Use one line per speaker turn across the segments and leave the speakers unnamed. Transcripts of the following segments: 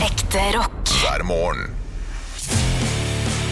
Ekte rock.
hver morgen.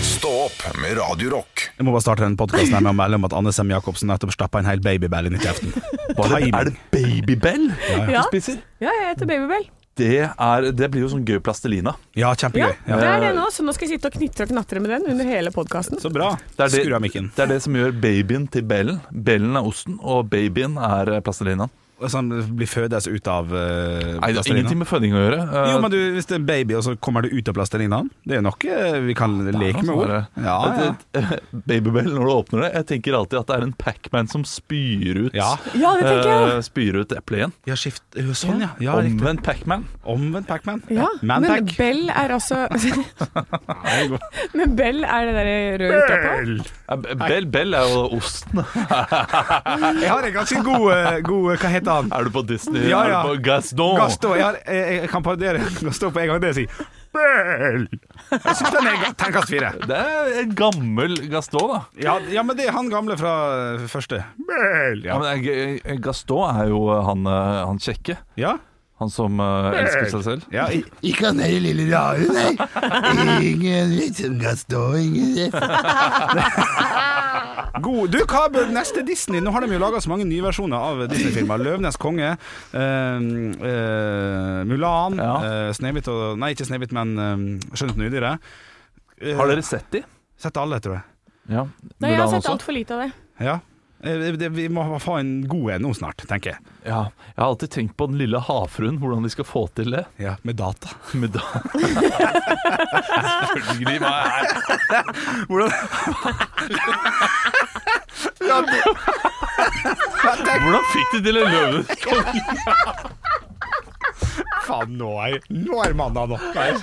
Stå opp med Radio Rock.
Jeg må bare starte denne podkasten med å melde om at Anne Sem Jacobsen nettopp stappa en hel babybell inn i kjeften.
Er det,
Timing.
er det babybell
Ja.
du spiser?
Ja, jeg heter Babybel.
Det, er, det blir jo sånn gøy plastelina.
Ja,
Ja,
kjempegøy. Ja.
det er det nå, så nå skal jeg sitte og knitre og knatre med den under hele podkasten.
Så bra.
Det er det,
Skru av mikken.
det er det som gjør babyen til bellen. Bellen er osten, og babyen er eh, plastelinaen.
Sånn blir fødes ut av uh,
Nei, det har ingenting med føding å gjøre. Eh,
Jo, men du, hvis det er baby, og så kommer det ut av plastelinaen Det er nok eh, vi kan
det er
leke
noe
med
sånn
ord.
der-
Ja, ja.
Et- et Babybell, når du åpner det Jeg tenker alltid at det er en Pac-Man som spyr ut
Ja.
Ja, det tenker jeg.
eh, Spyr ut eplet igjen.
ja skift ja, Sånn, ja. ja riktig.
Omvendt Pac-Man.
Omvendt Pacman.
Ja,
Man
men
Pac.
Bell er altså Men Bell er det der røde utapå?
Eh, b- Bell, Bell er jo osten.
Jeg har en ganske god, eh, god eh, Hva heter han?
Er du på Disney?
Ja, ja.
Er du på Gaston?
Gaston. Jeg, har- jeg, jeg kan parodiere Gaston på en gang. Det sier Bell. Jeg syns den er terningkast fire.
Det er en gammel Gaston, da.
Ja, ja, men det er han gamle fra eh, første. Bell.
Ja.
Ja.
men eh, G- Gaston er jo eh, han, eh, han kjekke.
ja.
Han som eh, elsker seg selv.
ja. i-
Ikke han der lille rare, nei. Ingen litt som Gaston, ingen rett.
God. Du, hva bør neste Disney? Nå har de jo laga så mange nye versjoner av Disney-filmer. 'Løvenes konge', eh, eh, 'Mulan',
Ja.
eh, 'Snehvit' og Nei, ikke 'Snehvit', men eh, 'Skjønt nydyret'. Eh,
Har dere sett de?
Sett alle, tror jeg.
Ja.
Nei, jeg har
Mulan
sett
også?
altfor lite av det.
Ja. Eh, det- Vi må få en god en nå snart, tenker jeg.
Ja. Jeg har alltid tenkt på Den lille havfruen, hvordan de skal få til det.
Ja, Med data.
Med da Selvfølgelig. Hva er
Hvordan ja, det,
Hvordan fikk de til en løve?
Faen, nå er, nå er mandag nok her.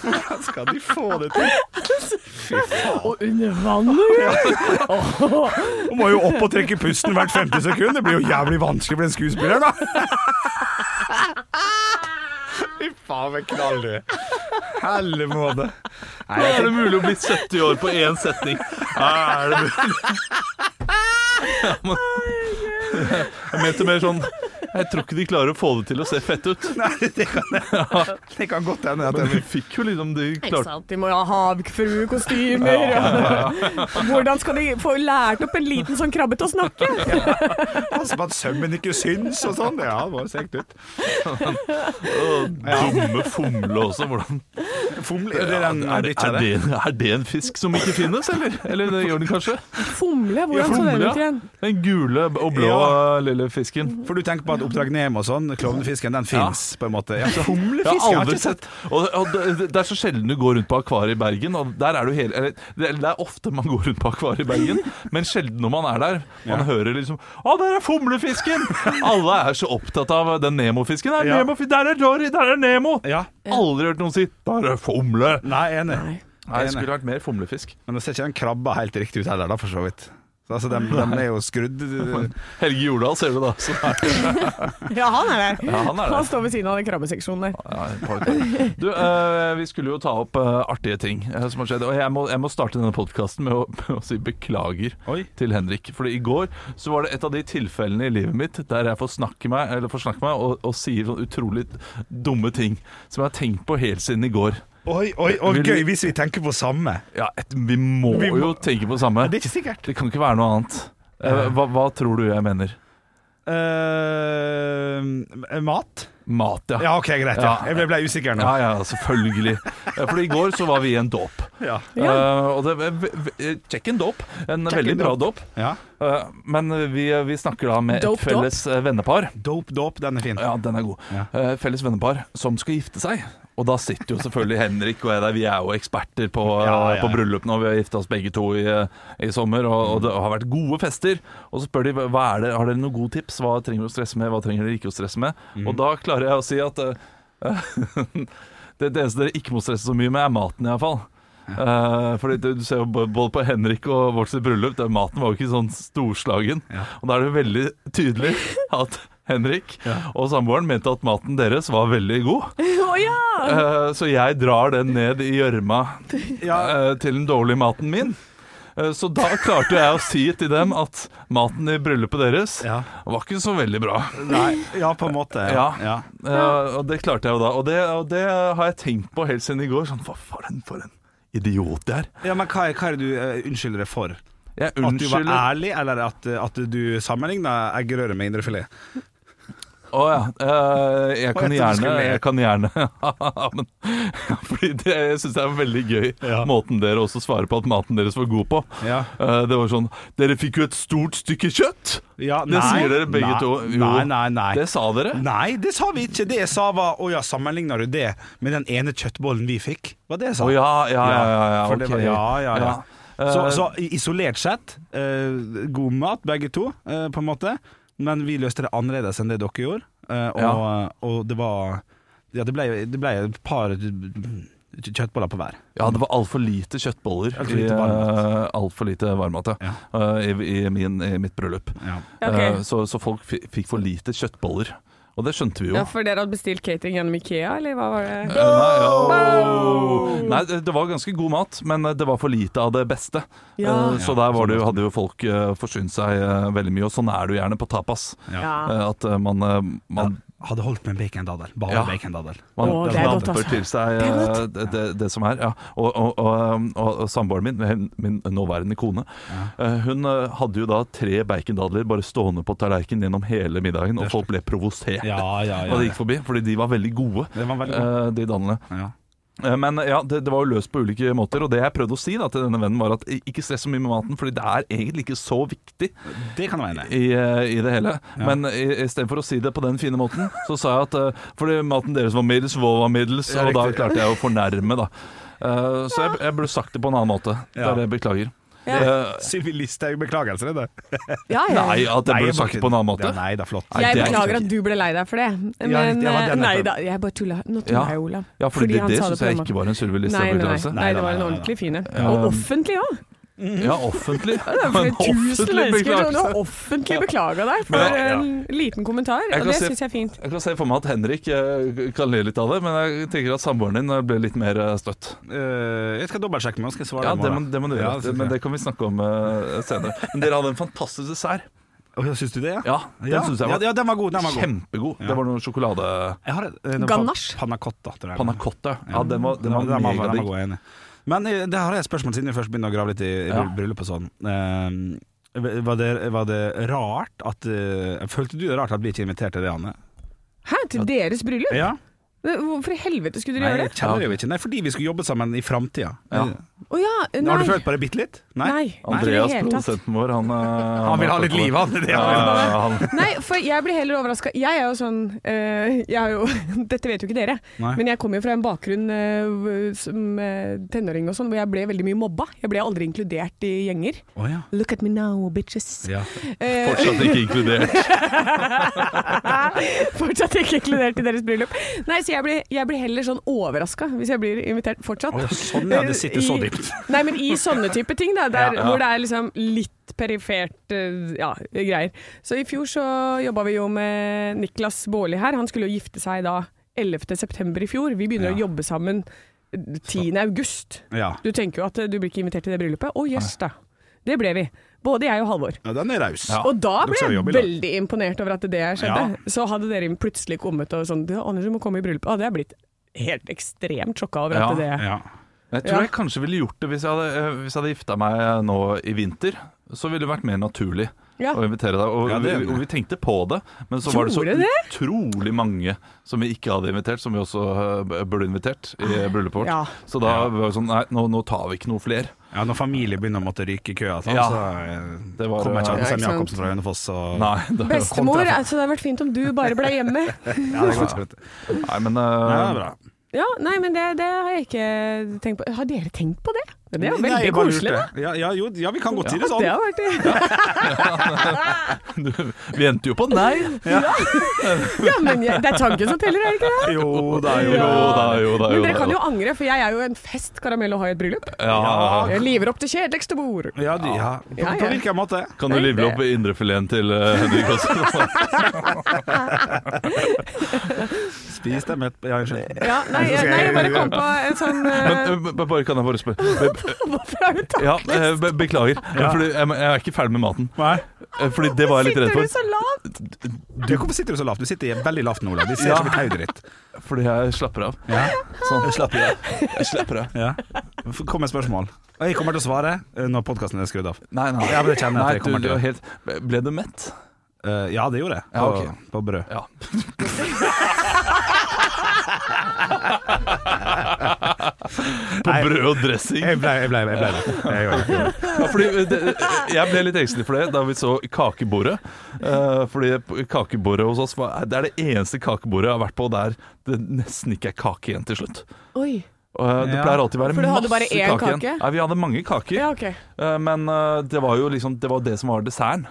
Hvordan skal de få det til?
Og under vannet!
Hun må jo opp og trekke pusten hvert femte sekund. Det blir jo jævlig vanskelig for den skuespilleren, da. Fy faen, men knall du. Helle måte. Nei, jeg
Er det mulig å bli 70 år på én setning? Er det mulig? Ja, men- Jeg mente mer sånn Jeg tror ikke de klarer å få det til å se fett ut.
tenker- Nei, det kan, det kan godt hende. at
Men
jeg-
de fikk jo liksom De
Ikke
klarte
sant, de må jo ha havfruekostymer og Hvordan skal de få lært opp en liten sånn krabbe til å snakke?
Passe på at sømmen ikke syns og sånn. Ja, det var sekt ut.
å, dumme fomle også. Hvordan
Fomle, det er den
er,
bikkja
er,
der.
det, er det en fisk som ikke finnes, eller? Eller det gjør den kanskje?
Fomle,
Ja,
hvordan så den
fomle,
ut igjen?
Den gule og blå
Ja.
lille fisken.
For du tenker på at Oppdrag Nemo og sånn, klovnefisken, den fins på en måte. Ja,
Jeg har
Humlefisk
aldri sett og, og det, det er så sjelden du går rundt på akvariet i Bergen. Og der er du hele, eller, det, det er ofte man går rundt på akvariet i Bergen, men sjelden når man er der. Man hører liksom 'Å, der er fomlefisken!' Alle er så opptatt av den Nemo-fisken. Der,
Ja.
er Nemo, der er Dory, der er Nemo!
Ja.
Aldri hørt noen si 'der er fomle'.
Nei, enig.
Nei, det skulle vært mer fomlefisk.
Men nå ser ikke den krabba helt riktig ut heller, da, for så vidt. Så, altså, de, de er jo skrudd
Helge Jordal ser du da. Så er,
Ja, han er der.
ja, han er der.
Han står ved siden av den krabbeseksjonen der.
Ja, et par til. Du, eh, vi skulle jo ta opp eh, artige ting eh, som har skjedd. Og jeg må, jeg må starte denne podkasten med, å- med å si beklager
Oi.
til Henrik. Fordi i går så var det et av de tilfellene i livet mitt der jeg får snakke meg, eller får snakke meg og, og sier sånn utrolig dumme ting som jeg har tenkt på helt siden i går.
Oi, oi, og
Vil du-
gøy hvis vi tenker på samme.
Ja, et, vi må
Vi må-
jo tenke på det samme.
Det er ikke sikkert.
Det kan ikke være noe annet. Eh, Hva, hva tror du jeg mener?
Eh, mat?
Mat, ja.
Ja, OK, greit. Ja.
Ja.
Jeg ble, ble usikker nå.
Ja, ja, selvfølgelig. Eh, Fordi i går så var vi i en dåp.
Ja.
Eh, og det, v- v- check and dope. En
Check
veldig
and
bra
dope.
dåp.
Ja.
Eh, men vi, vi snakker da med
Dope
et felles eh, vennepar.
Dope, dope, den er fin.
Ja, den er god.
Ja.
Eh, felles vennepar som skal gifte seg. Og da sitter jo selvfølgelig Henrik og jeg der. Vi er jo eksperter på, eh,
Ja, ja, ja.
på bryllup nå. Vi har gifta oss begge to i, eh, i sommer, og, og det har vært gode fester. Og så spør de hva er det, har dere noen gode tips. Hva trenger du å stresse med, hva trenger dere ikke å stresse med?
Mm.
Og da klarer jeg å si at eh, det, det eneste dere ikke må stresse så mye med, er maten iallfall. Uh, fordi du, du ser jo bo- både på Henrik og vårt sitt bryllup der Maten var jo ikke sånn storslagen Og da er det jo veldig tydelig at Henrik og samboeren mente at maten deres var veldig god
Å ja!
Eh, Så jeg drar den ned i gjørma eh, til den dårlige maten min Eh, Så da klarte jeg å si til dem at maten i bryllupet deres
Ja.
var ikke så veldig bra.
Nei, ja, på en måte.
Ja.
ja.
Eh, og det klarte jeg jo da. Og det, og det har jeg tenkt på helt siden i går. Sånn, hva faen for en idiot jeg er.
Ja, men hva er, hva er det du eh, unnskylder det for?
Jeg
At du var
unnskylder
ærlig, eller at, at du sammenligna eggerøre med indrefilet?
Å ja. eh, jeg, kan
jeg trodde du
gjerne,
skulle le.
jeg kan gjerne Ja, men, Fordi det, jeg syns det er veldig gøy
Ja.
måten dere også svarer på at maten deres var god på.
Ja.
Eh, det var sånn Dere fikk jo et stort stykke kjøtt!
Ja,
Det sier dere begge
nei,
to. Jo,
Nei, nei, nei.
Det sa dere.
Nei, det sa vi ikke. Det jeg sa var Å ja, sammenligna du det med den ene kjøttbollen vi fikk? Var det jeg sa?
Å ja, ja, ja. ja, ja,
For det var-
ok.
ja, ja, ja. Så,
Eh,
så i- isolert sett, eh, god mat begge to, eh, på en måte. Men vi løste det annerledes enn det dere gjorde. Eh, og,
Ja.
og det var Ja, det ble, det ble et par eh, kjøttboller på hver.
Ja, det var altfor lite kjøttboller.
Alt for lite
i, eh,
varmmat.
alt for lite varmmat, ja. Eh, i, i, min, I mitt bryllup.
Ja.
Ok.
Eh, så, så folk fi- fikk for lite kjøttboller. Og det skjønte vi jo.
Ja, for dere hadde bestilt catering gjennom Ikea, eller hva var
Eh,
det?
Nei, ja. Nei, det det var ganske god mat, men eh, det var for lite av det beste.
Ja.
Eh, Så der var det jo, hadde jo folk eh, forsynt seg eh, veldig mye, og sånn er det jo gjerne på tapas.
Ja.
Eh, At eh, man, eh, man,
Hadde holdt med en bacondaddel. Bare
Ja.
bacondaddel.
man
Å, det er godt,
damper
altså.
til seg
Det er
eh,
godt.
det, det, det som er. Ja. Og, og, og, og, og samboeren min, hun- min nåværende kone, eh, hun eh, hadde jo da tre bacondadler bare stående på tallerkenen gjennom hele middagen, og folk ble provosert
Ja, ja, ja.
da de gikk forbi, fordi de var veldig gode,
Det var veldig
eh, de dadlene.
ja.
Eh, Men ja, det, det var jo løst på ulike måter, og det jeg prøvde å si da, til denne vennen, var at i- ikke stress så mye med maten, fordi det er egentlig ikke så viktig
Det kan jeg være enig i.
i, eh, i det hele. Men i, i stedet for å si det på den fine måten, så sa jeg at eh, fordi maten deres var middels, vår var middels,
Ja,
og da
riktig.
klarte jeg å fornærme, da. Eh, Så jeg, jeg burde sagt det på en annen måmåte. Det
Ja.
er det jeg beklager.
Ja.
Eh,
Sylvi Listhaug, beklagelser, er det?
Ja, ja.
Nei, at jeg burde sagt det på en annen
Ja,
måte.
nei, det er flott.
Nei,
Jeg
det er
beklager
ikke-
at du ble lei deg for det, men
riktig, ja,
eh,
det er nettopp.
Nei da, jeg bare tulla. Nå tulla
Ja.
jeg, Olav.
Ja, fordi,
han
det
sa
syns
på
jeg
den
ikke
måten.
var en Sylvi
Nei, nei, nei.
Listhaug-beklagelse.
nei, det
Nei,
var en
nei, nei,
ordentlig fine.
Ja.
Og offentlig òg.
Ja, offentlig.
Det var
En
flere tusen
offentlig
mennesker som
beklagelse.
hadde offentlig beklaga deg for eh,
Ja, ja.
en liten kommentar,
Jeg
og
kan
det
se-
syns jeg er fint.
Jeg kan se for meg at Henrik eh, kan le litt av det, men jeg tenker at samboeren din eh, ble litt mer eh, støtt.
Eh, jeg skal dobbeltsjekke med henne, skal jeg svare
Ja,
i
det må,
morgen.
det må du
Ja,
gjøre,
det synes
men
jeg.
det kan vi snakke om eh, senere. Men dere hadde en fantastisk dessert.
Å, ja, Syns du det,
Ja, den synes jeg
ja,
var
ja, den var god. Den var god.
kjempegod. Det var noe sjokolade
Jeg har, eh, den
Ganache.
pa- Panna cotta, tror jeg.
panna cotta. Ja, den var, den
Den
var
den var- den var
megadigg.
god, jeg er enig. Men eh, det har jeg et spørsmål siden vi først begynner å grave litt i, i
Ja.
bryllup og sånn. Eh, var, det, var det rart at eh, Følte du det rart at vi ikke inviterte det, Anne?
Hæ, til deres bryllup?
Ja.
Hvorfor i helvete skulle dere
Nei,
gjøre
jeg
det?
kjenner det jo ikke. Nei, fordi vi skulle jobbe sammen i framtida.
Ja.
Å ja, nei.
Har du følt på det bitte litt? Nei.
Nei. ikke i det
Andreas,
hele tatt.
produsenten vår, han eh,
Han vil ha
har
litt
fått
liv, han. Det har vi.
Ja, han.
Nei, for jeg blir heller overraska. Jeg er jo sånn eh, jeg er jo, Dette vet jo ikke dere,
Nei.
men jeg kommer jo fra en bakgrunn eh, hvor- som eh, tenåring og sånn, hvor jeg ble veldig mye mobba. Jeg ble aldri inkludert i gjenger.
Å, ja.
Look at me now, bitches.
Ja.
Eh,
Fortsatt ikke inkludert.
fortsatt ikke inkludert i deres bryllup. Nei, så jeg blir, jeg blir heller sånn overraska hvis jeg blir invitert fortsatt.
Å, ja, sånn, ja, det sitter så
I-
dypt.
Nei, men i sånne type ting, da, der,
Ja, ja.
hvor det er liksom litt perifert eh, ja, greier. Så i fjor så jobba vi jo med Niklas Baarli her. Han skulle jo gifte seg da 11.9. i fjor. Vi begynner å
Ja.
jobbe sammen eh, 10.8.
Ja.
Du tenker jo at eh, du blir ikke invitert til det bryllupet. Å jøss, da. Det ble vi. Både jeg og Halvor.
ja, den er raus.
Og da
Ah, Dere
ble
skal
jeg
jobbe i lag.
veldig imponert over at det skjedde. Så hadde dere plutselig kommet og sånn Du, Anders, du må komme i bryllupet. Hadde jeg blitt helt ekstremt sjokka over at
Ja.
det
Ja.
Jeg
Ja.
tror jeg kanskje ville gjort det hvis jeg hadde, eh, hvis jeg hadde gifta meg nå i vinter. Så ville det vært mer naturlig
Ja.
å invitere deg. Og,
Ja, det er
vi,
enig.
og vi tenkte på det, men så var det så
Gjorde det?
utrolig mange som vi ikke hadde invitert, som vi også eh, burde invitert i bryllupet vårt.
Ja.
Så da var det sånn Nei, nå, nå tar vi ikke noe fler.
Ja, når familie begynner å måtte ryke i køa, sånn,
Ja.
så eh,
Det var-
kommer ikke
Ja,
Anne
ikke
Sem
sant.
Jacobsen fra Hønefoss og
Nei, det,
Bestemor, altså det hadde vært fint om du bare ble hjemme.
Ja, det går ikke, vet du.
nei men
Nei, det
eh,
er bra.
Ja, nei, men det, det har jeg ikke tenkt på. Har dere tenkt på det? Det er jo
Nei,
veldig
jeg bare lurte.
koselig, da.
Ja, ja, jo, ja, vi kan godt si det sånn.
Det har vært det.
du, vi endte jo på nei.
Ja, men jeg, det er tanken som teller, er det ikke det?
Jo da, jo
Jo
da.
da, jo da. Jo,
Men
da,
dere kan
jo.
jo angre, for jeg er jo en fest karamell å ha i et bryllup.
Ja,
Jeg liver opp det kjedeligste bord.
Ja, du, ja. På,
Ja,
på
ja.
hvilken måte?
kan du livle opp indrefileten til eh, Henrik også?
Spis dem et Ja, unnskyld.
Ja, nei, jeg, nei, jeg bare kom på en sånn eh,
Men eh, b- bare kan jeg bare spørre
Hvorfor har du tatt
Ja, eh, be- beklager.
Ja.
Fordi jeg, jeg er ikke ferdig med maten.
Nei.
Eh, Fordi det var jeg litt redd
Sitter du
for.
så lavt?
Du, hvorfor sitter du så lavt? Du sitter veldig lavt nå, Ola. De ser
Ja.
som et hodet ditt.
Fordi jeg slapper av.
Ja.
Sånn. Jeg slapper av. Jeg slapper av.
Ja. F- Kom med spørsmål. Og Jeg kommer til å svare eh, når podkasten er skrudd av.
Nei, nei.
Ja, men det kjenner jeg at
Nei,
jeg kommer
du- du
til.
er helt- Ble du mett?
Eh, ja, det gjorde jeg. På,
Ja, ok.
på brød.
Ja. På brød og dressing.
Jeg ble, jeg ble, jeg ble det. Jeg gjorde det.
Ja, fordi eh, det, jeg ble litt engstelig for det da vi så kakebordet. Eh, fordi p- kakebordet hos oss var, eh, Det er det eneste kakebordet jeg har vært på der det nesten ikke er kake igjen til slutt.
Oi.
Og, eh, det
Ja.
pleier alltid å være
For du hadde
masse
bare
kake,
én
igjen.
kake?
Nei, vi hadde mange kaker,
Ja, ok.
eh, men eh, det var jo liksom det, var det som var desserten.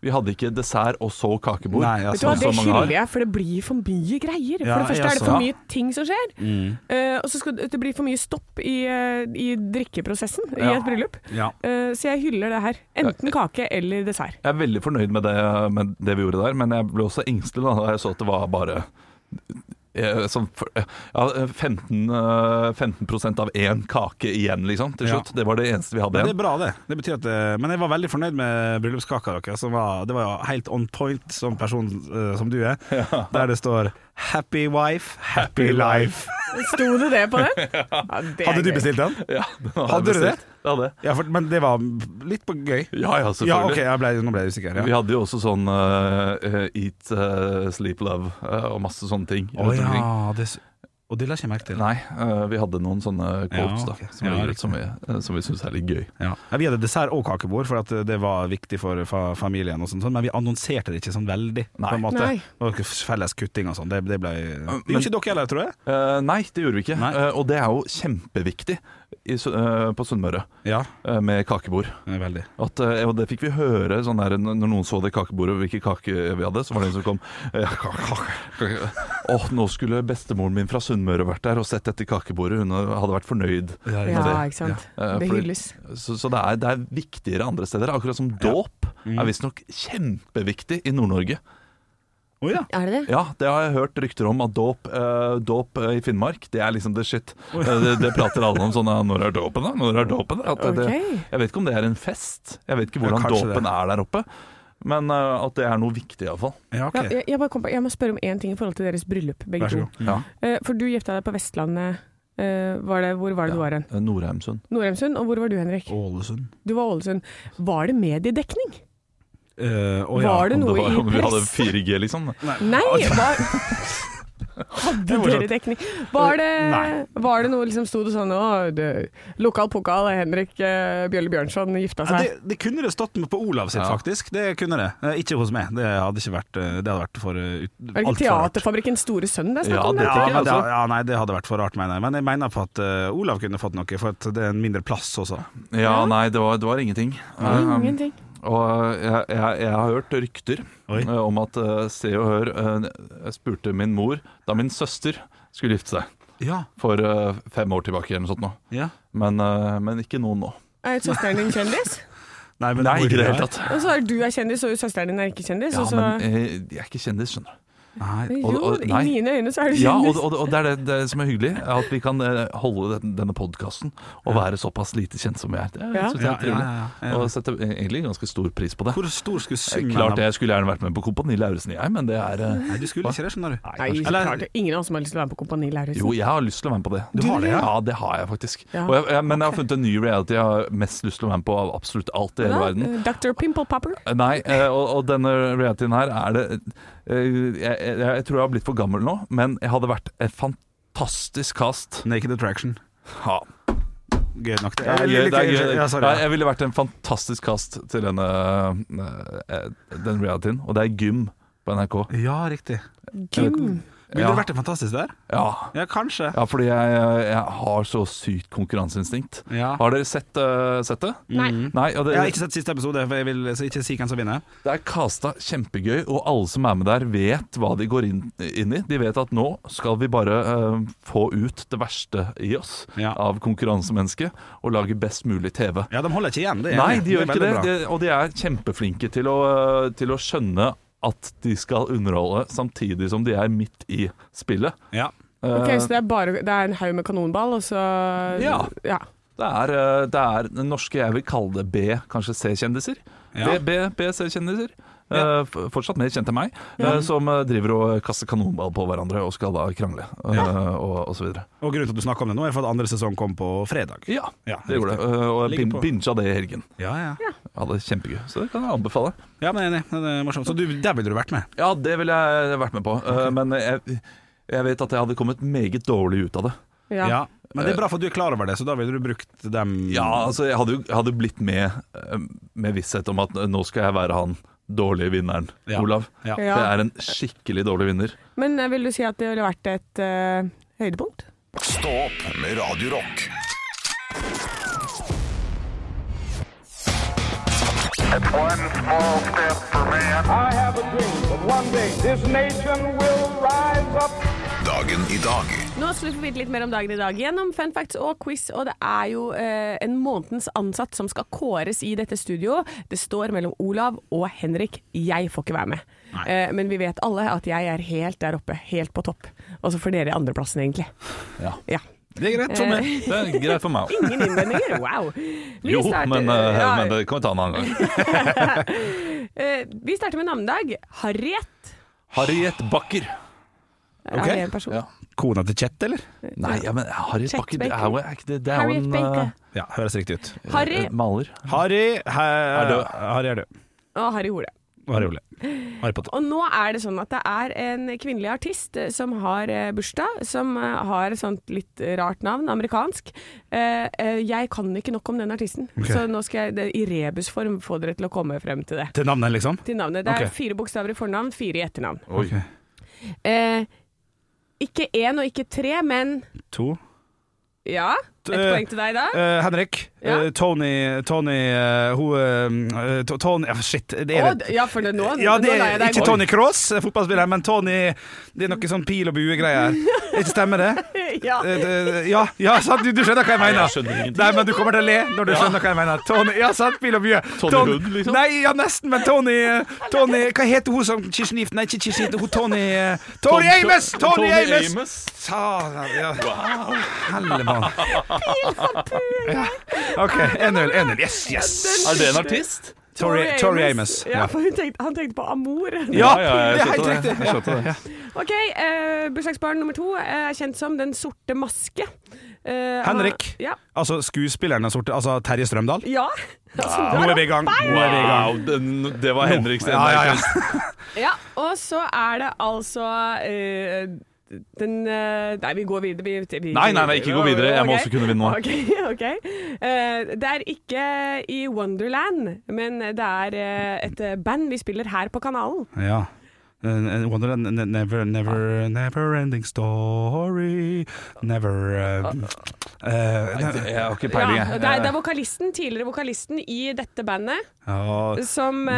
Vi hadde ikke dessert og så kakebord.
Nei, ja,
Mm. Vet du hva,
sånn
som
Det
man har.
skylder jeg, for det blir for mye greier.
Ja,
for det første
jeg
er det for
også.
mye ting som skjer.
Mm.
eh, og så skal det det blir for mye stopp i, eh, i drikkeprosessen i
Ja.
et bryllup.
Ja.
Eh, så jeg hyller det her. Enten kake eller dessert.
Jeg er veldig fornøyd med det, med det vi gjorde der, men jeg ble også engstelig da da jeg så at det var bare eh, sånn for- ja, 15, eh, 15 av én kake igjen, liksom, til
Ja.
slutt. Det var det eneste vi hadde
Men det
igjen.
er bra, det. det betyr at, eh, men jeg var veldig fornøyd med bryllupskaka deres. Som var, det var jo helt on point som person eh, som du er. Der det står 'Happy wife, happy life'.
Sto det det på den? Ja, det er
Hadde du
gøy.
bestilt den?
Ja, den
Hadde
jeg
du det?
bestilt. Jeg hadde det?
Ja, for, men det var litt på gøy.
Ja ja,
Ja,
selvfølgelig.
ok, jeg ble, nå ble jeg usikker.
Vi
Ja.
hadde jo også sånn eh, eh, Eat, eh, Sleep, Love eh, og masse sånne ting.
Å
rundt omkring.
ja, det, s- og det la ikke jeg merke til.
Nei, eh, vi hadde noen sånne quotes
Ja,
da,
ok.
som,
Ja,
ligger
riktig.
ut, som vi, eh, som vi syns er litt gøy.
Ja. Ja, vi hadde dessert og kakebord, for at eh, det var viktig for eh, fa familien, og sånt, sånn, men vi annonserte det ikke sånn veldig.
Nei.
På en måte.
Nei.
Det var ikke Felles kutting og sånn. Det, det ble
Men-
Det Gjorde ikke dere heller, tror jeg.
Eh, nei, det gjorde vi ikke.
Nei.
Eh, og det er jo kjempeviktig i, Su- eh, på Sunnmøre
Ja,
eh, med kakebord.
veldig.
At, eh, og det fikk vi høre sånn der, når når noen så det kakebordet, hvilke kake vi hadde. Så var det en som kom eh, kake, kake, kake. Åh, nå skulle bestemoren min fra Sunnmøre vært der og sett dette kakebordet. Hun hadde vært fornøyd.
Ja, ikke sant.
Eh,
Det
fordi-
hylles.
Så, så det, er, det er viktigere andre steder. Akkurat som dåp er visstnok kjempeviktig i Nord-Norge.
Å ja.
Er det det?
Ja, det har jeg hørt rykter om at dåp eh, dåp, eh, i Finnmark, det er liksom the shit. Eh, det, det prater alle om sånn eh, Når er dåpen, da? Når er dåpen? At det, det-
Ok.
Jeg vet ikke om det er en fest. Jeg vet ikke hvordan
Ja, kanskje
dåpen er der oppe. Men eh, at det er noe viktig, iallfall.
Ja, ok.
Ja, jeg, jeg, bare kom på, jeg må spørre om én ting i forhold til deres bryllup, begge
Vær så
to.
god.
Ja.
Eh, for du gifta deg på Vestlandet. Eh, var det, hvor var det du var hen?
Eh, Norheimsund.
Norheimsund. Og hvor var du, Henrik?
Ålesund.
Du var Ålesund. Var det mediedekning?
Eh, å ja.
Var det
Om,
noe
det var,
i
om vi hadde
press?
4G, liksom.
Nei! Var, hadde dere
morsomt.
dekning? Var det,
Nei.
var det noe liksom sto det sånn Å, det, lokal pokal, Henrik eh, Bjølle Bjørnson gifta
Ja,
seg.
det, det kunne det stått med på Olav sitt,
Ja.
faktisk. Det kunne det. Eh, ikke hos meg. Det hadde ikke vært eh, Det hadde vært for eh, ut,
er
alt
det ikke Sånn,
for rart.
Teaterfabrikkens store sønn det er snakk
Ja,
om?
det
Det.
Ja,
tenker jeg altså.
men det,
også.
ja, nei, det hadde vært for rart, mener jeg. Men jeg mener på at eh, Olav kunne fått noe, for at det er en mindre plass også.
Ja, nei, det var, det var ingenting. Eh,
Ingenting.
Og eh, jeg, jeg, jeg har hørt rykter
Oi.
eh, om at eh, Se og Hør eh, jeg spurte min mor da min søster skulle gifte seg
Ja,
for eh, fem år tilbake eller noe sånt nå.
ja.
Men, eh, men ikke noen nå.
Er søsteren din kjendis?
Nei, men
Nei,
hvor
ikke i det
er
hele tatt.
Og så er du er kjendis, og søsteren din er ikke kjendis.
Ja,
og så,
men eh, jeg er ikke kjendis, skjønner du.
Nei.
jo,
og- og- nei.
i mine øyne så er du
Ja, og,
kjendis.
og, og det er det, det som er hyggelig, er at vi kan eh, holde den- denne podkasten og være såpass lite kjent som vi er. Det
Ja.
synes jeg
Ja,
er trivelig.
ja, ja, ja.
Og setter egentlig ganske stor pris på det.
Hvor stor skulle
Eh,
summen
Klart
av-
jeg skulle gjerne vært med på Kompani Lauritzen, jeg, men det er eh,
Nei, du skulle ikke det, skjønner du.
Nei,
Eller-
klart, det er ingen av oss som har lyst til å være med på Kompani Lauritzen.
Jo, jeg har lyst til å være med på det.
Du har det, ja?
ja? det har jeg faktisk.
Ja,
Og jeg, jeg, men jeg har funnet en ny reality jeg har mest lyst til å være med på av absolutt alt i hele verden.
Ja, eh, Dr. Pimple Popper.
Nei, eh, og, og denne realityen her er det eh, jeg, jeg, jeg tror jeg har blitt for gammel nå, men jeg hadde vært et fantastisk cast.
Naked Attraction.
Ja,
Gøy nok, det.
det er gøy. Det er gøy.
Eh, Ja, sorry.
Nei, jeg ville vært en fantastisk cast til denne eh, den realityen, og det er gym på NRK.
Ja, riktig.
Gym.
Ville
Ja.
det vært det fantastisk der?
Ja,
Ja, kanskje.
ja fordi jeg, eh, jeg har så sykt konkurranseinstinkt.
Ja.
Har dere sett, eh, sett det?
Nei.
Nei, og det,
Jeg har ikke sett siste episode, for jeg vil ikke si hvem som vinner.
Det er casta kjempegøy, og alle som er med der, vet hva de går inn, inn i. De vet at nå skal vi bare eh, få ut det verste i oss
Ja.
av konkurransemennesket, og lage best mulig TV.
Ja, de holder ikke igjen. Det er
Nei,
enig.
de gjør
er
ikke det,
veldig bra.
det. Og de er kjempeflinke til å, eh, til å skjønne at de skal underholde samtidig som de er midt i spillet.
Ja.
Eh,
Ok, så det er, bare, det er en haug med kanonball, og så
Ja. Det er, eh, det er den norske jeg vil kalle det B, kanskje C-kjendiser.
Ja.
B, B, B, C-kjendiser. Eh, f- fortsatt mer kjent enn meg, eh, som eh, driver og kaster kanonball på hverandre og skal da krangle, eh, og, og så videre.
Og grunnen til at du snakker om det nå, er for at andre sesong kom på fredag.
Ja,
Ja,
det gjorde det. Eh, og jeg
Ligger
bin-
på.
binga det i helgen.
Ja, ja.
Jeg hadde det kjempegøy, så det kan jeg anbefale.
ja men jeg er enig. Det er morsomt. Så du, der ville du vært med?
Ja, det ville jeg vært med på, eh, men jeg, jeg vet at jeg hadde kommet meget dårlig ut av det.
Ja.
Men det er bra for at du er klar over det, så da ville du brukt dem
Eh, Ja, altså jeg hadde jo jeg hadde jo blitt med eh, med visshet om at eh, nå skal jeg være han dårlige vinneren,
Ja.
Olav.
Ja.
Ja.
Det er en skikkelig dårlig vinner.
Men eh, vil du si at det ville vært et eh, høydepunkt?
Stå opp med Radio Rock.
It's one small step for man.
I have a dream that one day this nation will rise up.
Dagen i dag
Nå skal vi få vite litt mer om dagen i dag gjennom fun facts og quiz. Og det er jo eh, en månedens ansatt som skal kåres i dette studioet. Det står mellom Olav og Henrik. Jeg får ikke være med. Eh, men vi vet alle at jeg er helt der oppe, helt på topp. Og så får dere andreplassen, egentlig.
Ja.
Ja.
Det er greit.
For meg.
Eh.
Det er greit for meg òg.
Ingen innvendinger, wow. Vi
Jo,
starter-
men, eh,
ja,
men det kan vi ta en annen gang.
eh, vi starter med navnedag. Harriet.
Harriet Bakker.
Ok.
Er det en person?
Ja.
Kona til Chet, eller?
Nei, ja, men Harriet
Chet
Bakker det er
Baker.
jo, er ikke det, det er jo
Harriet
en
Baker.
Ja, høres riktig ut.
eh,
Harry.
maler.
Harry he, er
død.
Harry er død.
Og Harry Hole.
Og Harry Ole. Harry Potter.
Og nå er det sånn at det er en kvinnelig artist eh, som har eh, bursdag, som eh, har et sånt litt rart navn, amerikansk. Eh, eh, jeg kan ikke nok om den artisten, så nå skal jeg det, i rebusform få dere til å komme frem til det.
Til navnet, liksom?
Til navnet. Det er
Ok.
fire bokstaver i fornavn, fire i etternavn.
Oi.
Eh, ikke én og ikke tre, men
To.
ja. Et
Eh,
poeng til deg da.
Eh, Henrik.
Ja.
Eh, Tony Tony eh, Hun eh, to- Tony ja, Shit, det er
Å,
det.
d- ja, for det, nå,
Ja, det
nå lar jeg
er
deg
ikke
gå.
Tony Cross, eh, fotballspilleren, men Tony Det er noe sånn pil og bue-greier. Ikke stemmer det?
ja.
Eh, det- Ja, ja sant, du, du skjønner hva jeg mener.
jeg skjønner ingenting.
Nei, men du kommer til å le når du skjønner hva jeg mener. Tony, ja, sant, pil og bue.
Tony
Ton-
Hund, liksom?
Nei, ja, nesten, men Tony eh, Tony, Hva heter hun som Kirsten Gift? Nei, ikke Kirsten Gift, hun Tony eh, Tony
Tom-
Amos! Tony Amos!
Amos.
Satan, ja. Hellemann. Ja. OK, 1-0, 1-0. Yes, yes.
Er det en artist?
Tori, Tori Amos.
Ja, for hun tenkte, han tenkte på Amor.
Ja,
jeg
det er helt
skjønte
riktig.
Jeg skjønte det.
Ok, eh, bursdagsbarn nummer to er kjent som Den sorte maske. Eh, han-
Henrik.
Ja.
Altså skuespilleren av sorte Altså Terje Strømdal.
ja. Altså,
Nå er
bra.
vi i gang. Nå er vi i gang.
Wow, den, det var Henriks
Ja, ja, ja.
ja. Og så er det altså eh, den eh, Nei, vi går videre. Vi, vi,
Nei, nei, nei, ikke gå videre. Jeg må
Ok.
også kunne vinne nå.
Ok, ok. Eh, det er ikke i Wonderland, men det er eh, et band vi spiller her på kanalen.
Ja. En- en Wonderland, ne- never, never, never ending story Never uh, uh,
Nei, det- Jeg har ikke peiling,
Ja,
jeg.
det, er,
Eh.
det er vokalisten, tidligere vokalisten i dette bandet.
ja.
Som eh,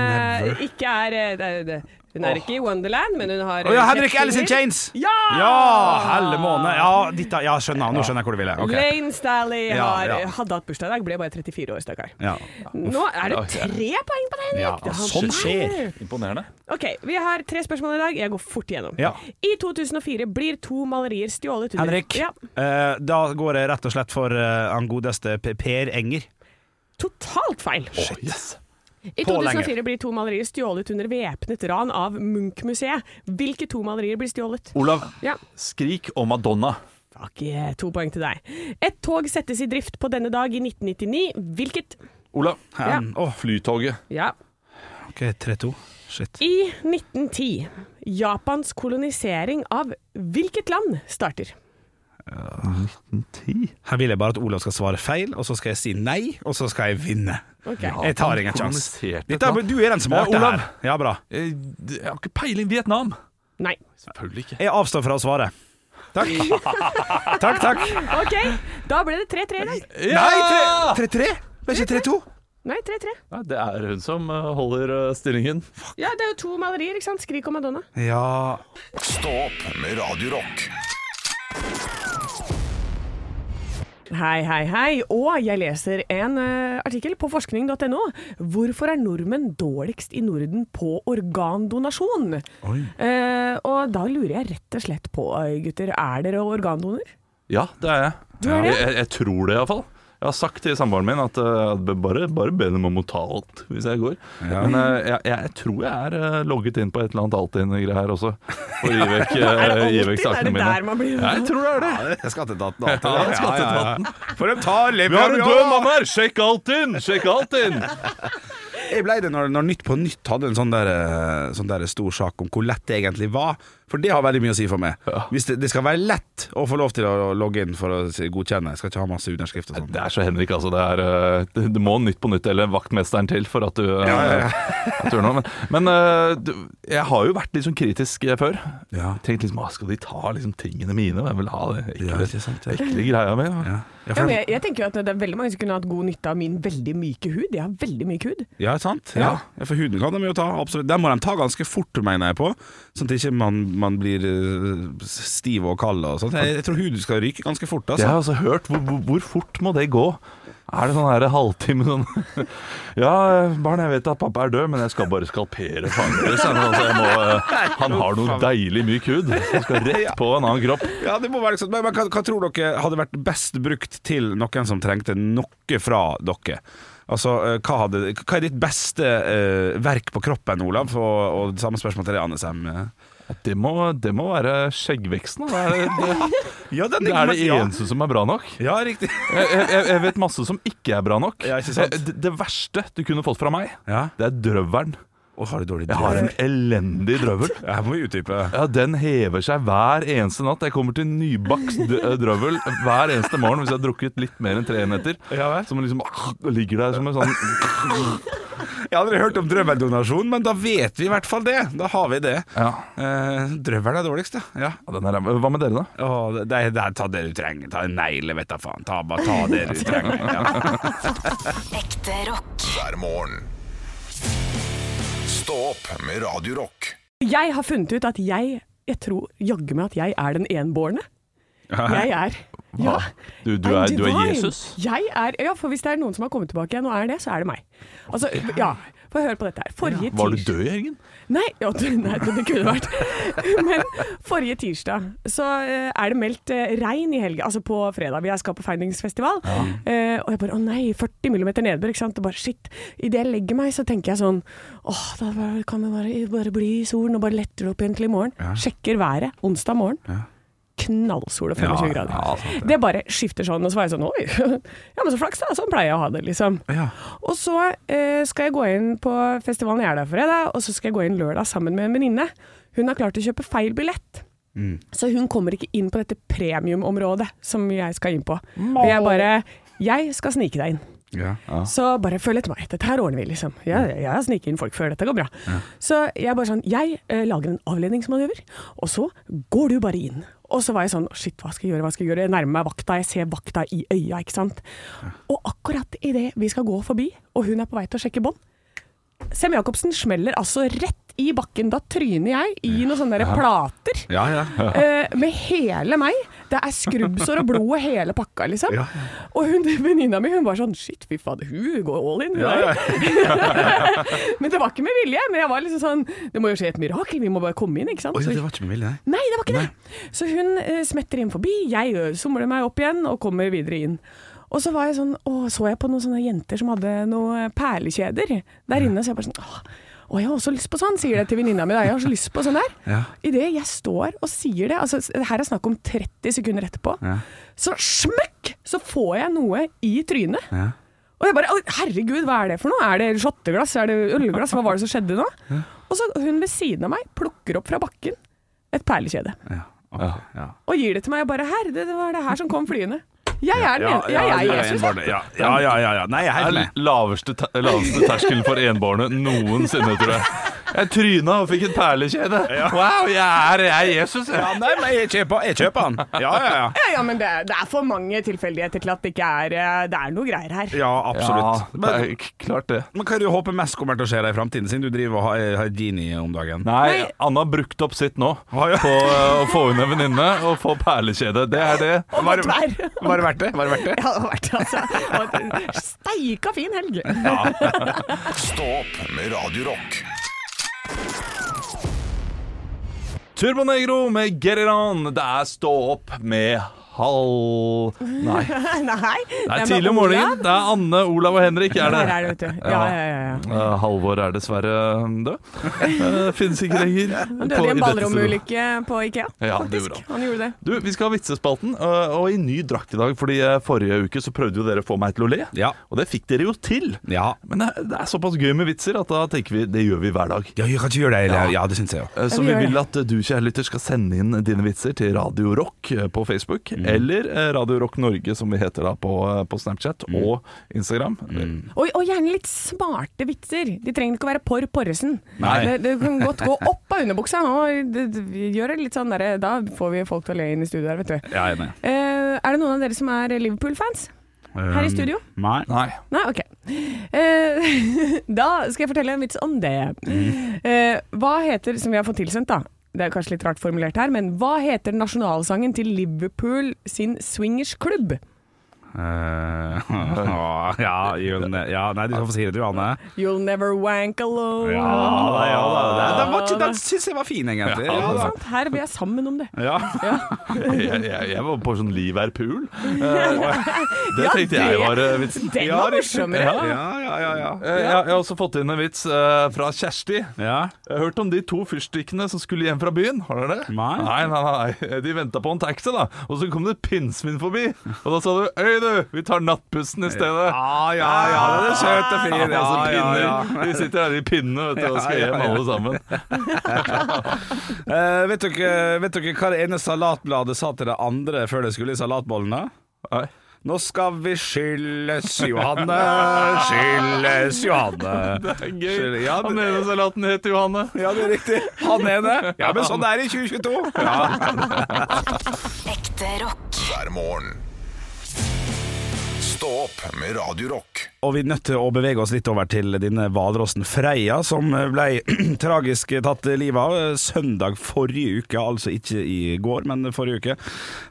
Never.
ikke er eh, det, det. Hun er ikke i Wonderland, men hun har
Å ja,
eh,
Henrik Alice in
kjettinger.
Chains!
Ja!
Ja, helle måne. Ja, dette, ja, skjønner. Nå skjønner jeg hvor du vil. jeg. Ok.
Lane Stally
Ja,
har,
ja.
hadde hatt bursdag i dag, ble bare 34 år, stakkar.
Ja.
Nå er det
Ok.
tre poeng på deg, Henrik!
Ja,
Det er
sånn
han-
skjer.
Imponerende.
OK, vi har tre spørsmål i dag. Jeg går fort igjennom.
Ja.
I 2004 blir to malerier stjålet under
Henrik,
Ja,
eh, da går jeg rett og slett for eh, han godeste P- Per Enger.
totalt feil.
Shit. yes.
I
På
2004 blir to malerier stjålet under væpnet ran av Munch-museet. Hvilke to malerier blir stjålet?
Olav,
Ja.
skrik og Madonna.
Fuck yeah, to poeng til deg. Et tog settes i drift på denne dag i 1999. Hvilket?
Olav,
Ja.
Um, Åh,
Flytoget.
Ja.
OK, 3-2. Shit.
I 1910. Japans kolonisering av hvilket land starter?
Her vil jeg bare at Olav skal svare feil, og så skal jeg si nei, og så skal jeg vinne.
Ok.
Jeg tar ingen sjanse.
Koloniserte
Dette er-
et
Du er den smarte
Ja, Olav.
her. Ja, bra.
Eh, Jeg har ikke peiling. Vietnam.
Nei.
Selvfølgelig ikke.
Jeg avstår fra å svare. Takk. takk, takk.
OK, da ble det 3-3 i dag.
Nei, 3-3? Ble ikke 3-2?
Nei, 3-3.
Nei, det er hun som eh, holder eh, stillingen.
Ja, det er jo to malerier, ikke sant? 'Skrik og Madonna'.
Ja
Stå opp med Radio Rock
Hei, hei, hei. Og jeg leser en eh, artikkel på forskning.no. Hvorfor er nordmenn dårligst i Norden på organdonasjon? Eh, og da lurer jeg rett og slett på, eh, gutter, er dere organdoner?
Ja, det er jeg.
er det?
Jeg, jeg tror det, iallfall. Jeg har sagt til samboeren min at, eh, at bare, bare be dem om å ta alt hvis jeg går. Men eh, jeg, jeg tror jeg er eh, logget inn på et eller annet Altinn-greier her også. For å gi vekk, eh, gi vekk
Er det
sakene mine.
der man blir
Jeg tror det er det.
Skatteetaten.
Ja, det er skatteetaten.
For de tar
Vi har en død mann her! Sjekk Altinn! Sjekk Altinn!
Jeg ble det når, når Nytt på Nytt hadde en sånn der, eh, sånn der stor sak om hvor lett det egentlig var. For det har veldig mye å si for meg. Hvis det, det skal være lett å få lov til å logge inn for å si- godkjenne. Jeg skal ikke ha masse underskrift og sånn.
Det er så Henrik, altså. Det, er, eh, det- det må Nytt på Nytt eller Vaktmesteren til for at du, eh, at du gjør noe. Men, men eh, du, jeg har jo vært litt sånn kritisk eh, før.
Ja.
Tenkt liksom, «Å, Skal de ta liksom tingene mine? Hvem vil ha det ekle,
Ja, ikke sant, ja.
ekle greia mi? da?»
Ja. Ja,
Ja,
for,
men jeg, jeg tenker jo at det er veldig mange som kunne hatt god nytte av min veldig myke hud. Jeg har veldig myk hud.
ja, sant? Ja. Ja, For huden kan de jo ta. Absolutt. Den må de ta ganske fort, mener jeg på. Sånn at ikke man, man blir eh, stiv og kald og sånt. Jeg, jeg tror huden skal ryke ganske fort.
Det har
Altså.
jeg altså hørt. Hvor, hvor, hvor fort må det gå? Er det sånn her halvtime sånn Ja, barn, jeg vet at pappa er død, men jeg skal bare skalpere faren deres. jeg. Altså, jeg må, eh, han har noe deilig myk hud som skal rett på en annen kropp.
Ja, det må være liksom. Men, men hva, hva tror dere hadde vært best brukt til noen som trengte noe fra dere? Altså, eh, hva, hadde, hva er ditt beste eh, verk på kroppen, Olav? Og, og det samme spørsmål til deg, Anne Sem.
Det må, det må være skjeggveksten. da. Det er det,
Ja, den
det, er det eneste som er bra nok.
Ja, riktig.
Jeg, jeg, jeg vet masse som ikke er bra nok.
Ja, ikke sant?
Eh, Det, det verste du kunne fått fra meg,
Ja.
det er drøvelen.
Og har du dårlig
Jeg har en elendig drøvel.
Her må vi utdype.
Ja, Den hever seg hver eneste natt. Jeg kommer til nybakst d- drøvel hver eneste morgen hvis jeg har drukket litt mer enn tre enheter.
Ja, vel.
Som liksom ligger der som en sånn
Jeg har aldri hørt om drømmeldonasjon, men da vet vi i hvert fall det. Da har vi det.
Ja,
Eh, drøvelen er dårligst, ja. ja.
ja, den er, ræva. Hva med dere, da?
Å, det, det, det, ta det du trenger. Ta en negle, vet da faen. Ta, bare ta det du trenger. Ja.
Ekte rock.
hver morgen. Stå opp med Radio Rock.
Jeg har funnet ut at jeg Jeg tror jaggu meg at jeg er den enbårne. Jeg er Ja.
Du, du, er,
I'm
du er
divine.
Jesus.
Jeg er Ja, for hvis det er noen som har kommet tilbake igjen og er det, så er det meg. Altså, ja. Få høre på dette her. Forrige
Var du
tirsdag
død, Jørgen?
Nei, ja, du, nei, det kunne vært. Men forrige tirsdag så eh, er det meldt eh, regn i helga, altså på fredag. Jeg skal på Feiningsfestival. Eh, og jeg bare å nei, 40 mm nedbør, ikke sant. Og bare shit. Idet jeg legger meg, så tenker jeg sånn åh, da bare- kan det bare, bare bli i solen, og bare letter det opp igjen til i morgen. Sjekker været onsdag morgen. Knallsol og 25
Ja,
grader.
ja,
altså.
sant det.
det bare skifter sånn, og så var jeg sånn oi, ja men så flaks da, sånn pleier jeg å ha det, liksom.
Ja.
Og så eh, skal jeg gå inn på festivalen jeg er der for fredag, og så skal jeg gå inn lørdag sammen med en venninne. Hun har klart å kjøpe feil billett.
Mm.
Så hun kommer ikke inn på dette premiumområdet som jeg skal inn på. Og jeg bare Jeg skal snike deg inn.
Ja.
Så bare følg etter meg. Dette her ordner vi, liksom. Jeg, jeg, jeg sniker inn folk før dette går bra. Så jeg bare sånn Jeg eh, lager en avledningsmanøver, og så går du bare inn. Og så var jeg sånn Shit, hva skal jeg gjøre? Hva skal jeg gjøre? Jeg nærmer meg vakta. Jeg ser vakta i øya, ikke sant. Og akkurat idet vi skal gå forbi, og hun er på vei til å sjekke bånd, Sem-Jacobsen smeller altså rett i bakken. Da tryner jeg i noen sånne der plater.
Ja, ja.
Eh, med hele meg. Det er skrubbsår og blod og hele pakka, liksom.
Ja.
Og hun, venninna mi hun var sånn Shit, fy fader, hun går all in. hun
Ja,
der."
ja.
men det var ikke med vilje. Men jeg var liksom sånn Det må jo skje et mirakel, vi må bare komme inn, ikke sant.
Oi,
Så-
det var ikke med vilje, nei.
Nei, det var ikke det. Så hun eh, smetter inn forbi, jeg eh, somler meg opp igjen og kommer videre inn. Og så var jeg sånn, å, så jeg på noen sånne jenter som hadde noen perlekjeder der inne, så jeg bare sånn, åh, å, jeg har også lyst på sånn, sier det til venninna mi, da. jeg har så lyst på sånn der.
Ja.
I det jeg står og sier det, altså det her er snakk om 30 sekunder etterpå,
Ja.
så smøkk, så får jeg noe i trynet.
Ja.
Og jeg bare «Oi, Herregud, hva er det for noe? Er det shotteglass? Er det ølglass? Hva var det som skjedde nå? Og så hun ved siden av meg plukker opp fra bakken et perlekjede
Ja. ok, ja.
og gir det til meg. Jeg bare Herre, det var det her som kom flyende. Jeg er, den, ene- jeg er Jesus. jeg.
Ja, ja, ja, ja, ja. Nei, jeg er
Det
helt
er
med.
laveste, te laveste terskelen for enbårne noensinne, tror jeg. Jeg tryna og fikk et perlekjede. Wow, jeg er, jeg er Jesus, jeg.
Ja, nei, men jeg kjøper, jeg kjøper han. Ja, ja, ja.
Ja, ja, men det, er- det er for mange tilfeldigheter til at det ikke er eh, Det er noe greier her.
Ja, absolutt.
Ja, det
men,
er k- klart det.
men hva er det du håper mest kommer til å skje deg i framtiden, siden du driver og har, har genie om dagen?
Nei,
Nei.
Anna har brukt opp sitt nå
Ah, ja.
på eh, å få inn en venninne og få perlekjede. Det er det.
Og
Var,
godt
var
vær.
det verdt det? Var det verdt det?
Ja, det har vært altså det var en Steika fin helg.
Stå opp med Radio Rock.
Turbo Negro med Get It On. Det er Stå opp med halv... Nei.
Nei,
Det
med
er tidlig om morgenen.
Olav.
Det er Anne, Olav og Henrik. Er det.
Der er det, vet du. Ja, ja, ja, ja.
Eh, Halvor er dessverre død. Uh, Finnes ikke lenger.
Han
på-
døde i en
dette studioet.
ballromulykke på Ikea,
Ja, det
faktisk.
gjorde han.
han gjorde det.
Du, Vi skal ha vitsespalten, eh, og i ny drakt i dag. Fordi eh, Forrige uke så prøvde jo dere å få meg til å le,
Ja.
og det fikk dere jo til.
Ja.
Men det er- det er såpass gøy med vitser at da tenker vi det gjør vi hver dag.
Ja, jeg kan ikke gjøre det. Eller? Ja, det syns jeg jo.
Eh, Så
vi
vi
gjør
vil at du kjære lytter skal sende inn dine vitser til Radio Rock eh, på Facebook, eller eh, Radio Rock Norge som vi heter da på, eh, på Snapchat og Instagram.
Og, og gjerne litt smarte vitser. De trenger ikke å være porr Porresen.
Nei.
Det, det kan godt gå opp av underbuksa. Og det, det, gjør det litt sånn der, Da får vi folk til å le inn i studio her, vet du.
Ja, jeg er enig.
Eh, er det noen av dere som er Liverpool-fans? Her i studio?
Um, Nei.
Nei.
Nei, ok. Eh, da skal jeg fortelle en vits om det.
Mhm.
Eh, hva heter, som vi har fått tilsendt da, det er kanskje litt rart formulert her, men hva heter nasjonalsangen til Liverpool sin swingersklubb?
Eh, ja, gjør den det. ja, nei, du skal få si det, du, Anne.
You'll never wank alone.
Ja, da, ja, da. Den- Den, var ikke- den syns jeg var fin, egentlig. Ja,
Ikke
da.
sant? Her blir jeg sammen om det.
Ja.
Jeg, jeg, jeg var på sånn Liv er pool. Eh, og Det tenkte jeg
det-
var eh, vitsen.
Den
Ja,
var
det-
morsommere.
Ja, ja, ja. ja.
Eh, Jeg, jeg har også fått inn en vits eh, fra Kjersti.
Ja.
Jeg har hørt om de to fyrstikkene som skulle hjem fra byen. Har dere det?
Nei.
Nei, nei, nei. De venta på en taxi, da. Og så kom det pinnsvin forbi. Og da sa du 'Øy, du, vi tar nattbussen i stedet'.
Ja, ja, ja, den er søt og fin.
Ja,
Ja,
altså,
ja,
pinner.
ja.
De sitter der i pinnene vet du, og skal
Ja, ja,
hjem
ja.
alle sammen.
Eh, vet, dere, vet dere hva det ene salatbladet sa til det andre før det skulle i salatbollene?
Nei.
Nå skal vi skyldes Johanne, skyldes Johanne.
Det er gøy.
Skyldes- Ja,
Han
det,
ene salaten het Johanne.
ja, det er riktig. Han ene. Ja, men sånn er det i 2022. Ja.
Ekte rock.
hver morgen. Stå opp med Radio Rock.
Og vi er nødt til å bevege oss litt over til denne hvalrossen Freia, som ble tragisk tatt livet av eh, søndag forrige uke, altså ikke i går, men forrige uke.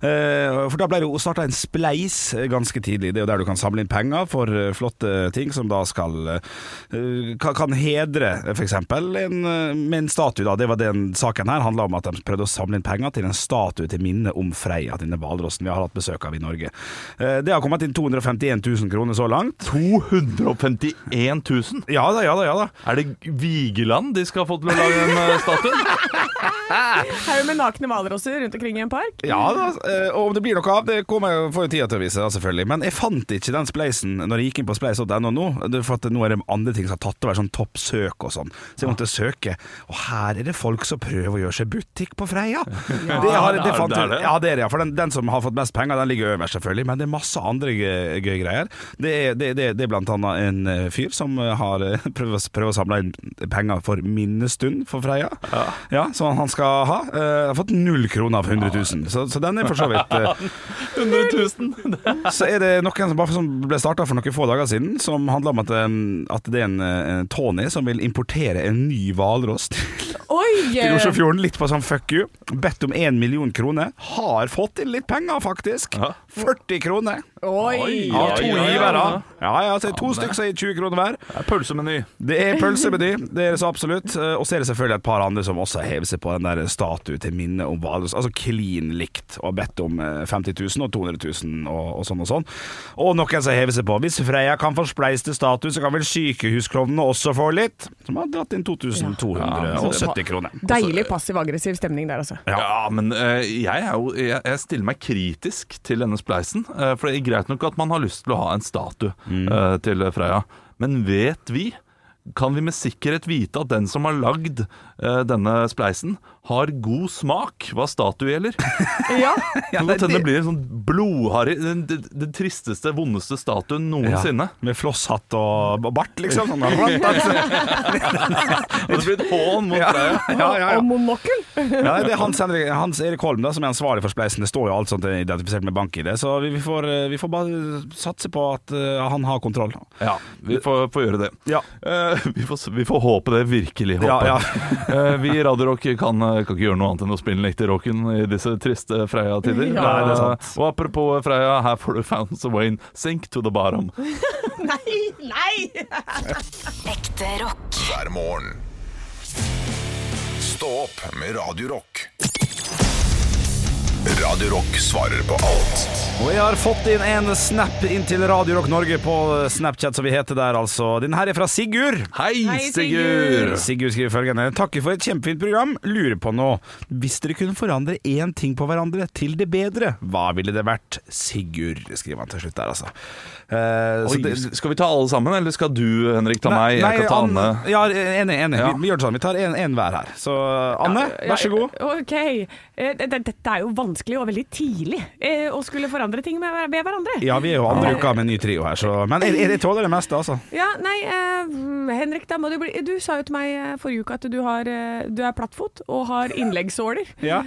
Eh, For da ble det jo starta en spleis eh, ganske tidlig. Det er jo der du kan samle inn penger for eh, flotte ting som da skal eh, ka- kan hedre f.eks. En, eh, med en statue, da. Det var den saken her handla om at de prøvde å samle inn penger til en statue til minne om Freia, denne hvalrossen vi har hatt besøk av i Norge. Eh, Det har kommet inn 251 000 kroner så langt.
251 000!
Ja da, ja da, ja da.
Er det Vigeland de skal få til å lage en eh, statue?
Her er vi med nakne hvalrosser rundt omkring i en park.
Ja da, eh, Og om det blir noe av, det kommer jeg får jo tida til å vise, da, selvfølgelig. Men jeg fant ikke den spleisen når jeg gikk inn på spleis.no nå. det er For at nå er det andre ting som har tatt over, sånn toppsøk og sånn. Så jeg måtte søke. Og her er det folk som prøver å gjøre seg butikk på Freia! Det, har, det,
det er-
fant
det er
jeg-
det.
Ja, det er det. ja, For den, den som har fått mest penger, den ligger øverst, selvfølgelig. Men det er masse andre gøy- gøye greier. Det er, det, det, det er blant annet en eh, fyr som eh, har eh, prøvd å, prøvd å samle inn penger for minnestund for Freia. Ja. som han skal ha. Eh, Har fått null kroner av 100 000, så, så den er for så vidt eh,
100 000!
så er det noen som, bare som ble starta for noen få dager siden, som handler om at, eh, at det er en, eh, en Tony som vil importere en ny hvalross til
Oi!
til
eh,
Oslofjorden, litt på sånn fuck you. Bedt om én million kroner. Har fått inn litt penger, faktisk. 40 kroner.
Oi!
Av to
Oi, oi, oi.
givere. Ja, ja, så er det to stykker som gir 20 kroner hver.
Det er pølsemeny.
Det er pølsemeny, det er det så absolutt. Eh, Og så er det selvfølgelig et par andre som også hever seg på den der statuen til minne om Valros. Altså klin likt, og har bedt om eh, 50 000 og 200 000 og, og sånn og sånn. Og noen som hever seg på. Hvis Freia kan få spleis til statue, så kan vel sykehusklovnene også få litt? Som har dratt inn 2270 kroner.
Deilig passiv-aggressiv stemning der, altså.
Ja, men eh, jeg, er jo, jeg, jeg stiller meg kritisk til denne spleisen. eh, for det er greit nok at man har lyst til å ha en statue eh, til Freia. Men vet vi, kan vi med sikkerhet vite at den som har lagd eh, denne spleisen, har god smak hva statue gjelder?
Ja.
Kan godt hende det blir en sånn blodharry den, den, den tristeste, vondeste statuen noensinne.
Med flosshatt og bart, liksom. Sånn, rantat.
Og det blir et hån mot Freia.
ja, ja, ja.
Og monokkel.
ja, det er Hans, Henrik, Hans Erik Holm da, som er ansvarlig for spleisen. Det står jo alt sånt identifisert med bank-ID, så vi, vi, får, eh, vi får bare satse på at eh, han har kontroll.
Ja, vi får, får gjøre det.
Ja.
Eh, vi, får, s- vi får håpe det, virkelig håpe.
Ja, ja.
Eh, vi i Radio Rock kan, eh, kan ikke gjøre noe annet enn å spille den ekte rocken i disse triste Freia-tider.
Ja. Nei,
det er
Eh, og apropos Freia, her får du Founds of Wayne, Sink to the Bottom.
Nei, nei!
Ekte rock.
hver morgen. Stå opp med Radio Rock. Radio Rock svarer på alt.
Og jeg har fått inn en snap inn til Radio Rock Norge på Snapchat, som vi heter der, altså. Den her er fra Sigurd.
Hei,
Hei,
Sigurd!
Sigurd skriver følgende Takker for et kjempefint program. Lurer på nå Hvis dere kunne forandre én ting på hverandre til det bedre, hva ville det vært? Sigurd, skriver han til slutt der, altså. Eh, så
Oi,
det-
skal vi ta alle sammen, eller skal du, Henrik, ta meg? Jeg kan ta
Anne-
Anne.
Ja, enig. enig.
Ja.
Vi, vi gjør det sånn. Vi tar en, en hver her. Så Anne, vær så god.
Ja, OK. Eh, det- det- Dette er jo vanskelig og veldig tidlig eh, å skulle forandre ting med, hver- med hverandre.
Ja, vi er jo andre uka med en ny trio her, så Men jeg, jeg, jeg tåler det meste, altså.
Ja, nei, eh, mm, Henrik, da må du bli Du sa jo til meg eh, forrige uke at du, har, eh, du er plattfot og har innleggsåler.
Ja,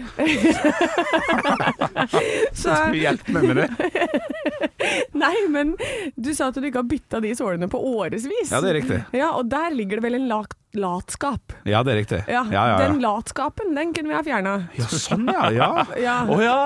Så
hjelp meg med det.
Nei, men du sa at du ikke har bytta de sålene på årevis.
Ja, det er riktig.
Ja, og der ligger det vel en lak- latskap.
Ja, det er riktig.
Ja,
ja, ja.
Den latskapen, den kunne vi ha fjerna.
ja sånn, ja. ja.
Ja.
Å ja!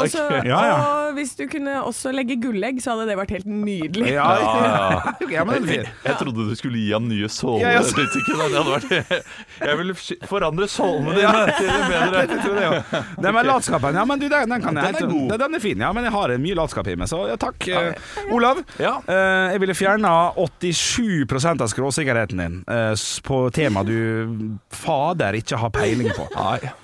Og
ok.
så-
Ja, ja.
Og hvis du kunne også legge gullegg, så hadde det vært helt nydelig.
Ja,
ja.
ja, men det er fint.
Jeg trodde du skulle gi ham nye såler.
Ja, ja, så-
Jeg, ikke, det hadde vært, jeg ville sk- forandre sålene dine til det bedre.
tror det jo. Den med latskapen, ja, men du, den, den kan jeg
Den er
helt-
god.
Den, den er fin, ja, men jeg har mye latskap i meg, så ja, takk. Eh, Olav,
Ja.
eh, jeg ville fjerna 87 av skråsikkerheten din eh, s- på tema du fader ikke har peiling på.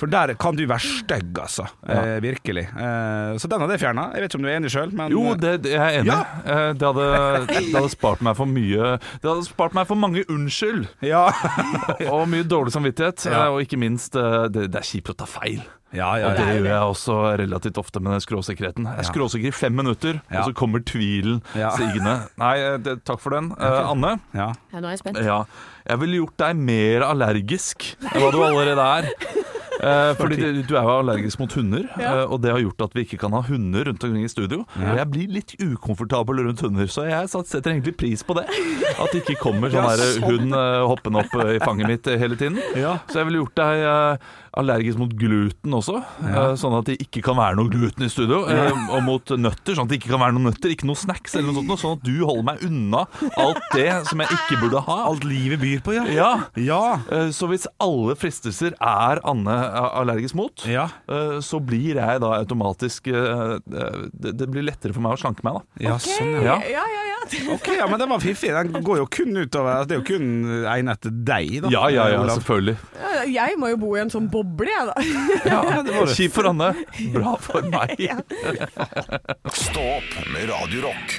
For der kan du være stygg, altså. Eh, virkelig. Eh, så den hadde jeg fjerna. Jeg vet ikke om du er enig sjøl, men
Jo, det, det- jeg er enig.
eh, Ja.
Eh, Det, hadde, det hadde spart meg for mye Det hadde spart meg for mange unnskyld
ja.
og mye dårlig samvittighet.
Ja.
Eh, Og ikke minst, eh, det, det er kjipt å ta feil.
ja, ja,
Og det gjør jeg også relativt ofte med den skråsikkerheten. Jeg er skråsikker i fem minutter,
Ja.
og så kommer tvilen
Ja.
sigende. Nei, eh, det, takk for den. Eh, Anne?
ja.
Ja, nå er jeg spent.
Eh,
Ja, jeg ville gjort deg mer allergisk enn hva du allerede er. Eh, fordi det, du er jo allergisk mot hunder,
Ja.
eh, og det har gjort at vi ikke kan ha hunder rundt omkring i studio. Og jeg blir litt ukomfortabel rundt hunder, så jeg satt- setter egentlig pris på det. At det ikke kommer sånn
Ja,
der
sånn.
hund eh, hoppende opp eh, i fanget mitt eh, hele tiden.
Ja.
Så jeg ville gjort deg eh, allergisk mot gluten også, eh, sånn at det ikke kan være noe gluten i studio. eh, og mot nøtter, sånn at det ikke kan være noen nøtter, ikke noe snacks eller noe sånt. noe, Sånn at du holder meg unna alt det som jeg ikke burde ha.
Alt livet byr på,
Ja.
Ja.
Eh, Så hvis alle fristelser er Anne eh, allergisk mot,
Ja.
eh, så blir jeg da automatisk eh, eh, Det det blir lettere for meg å slanke meg, da.
Ja, sånn, ja.
Ja.
ja, ja. ja.
Ok, ja, men den var fiffig. Den går jo kun utover altså, Det er jo kun en etter deg, da.
Ja, ja, ja,
Olav.
selvfølgelig.
Ja, Jeg må jo bo i en sånn boble, jeg, da.
Kjipt for Anne, bra for meg.
Stå opp med Radio Rock.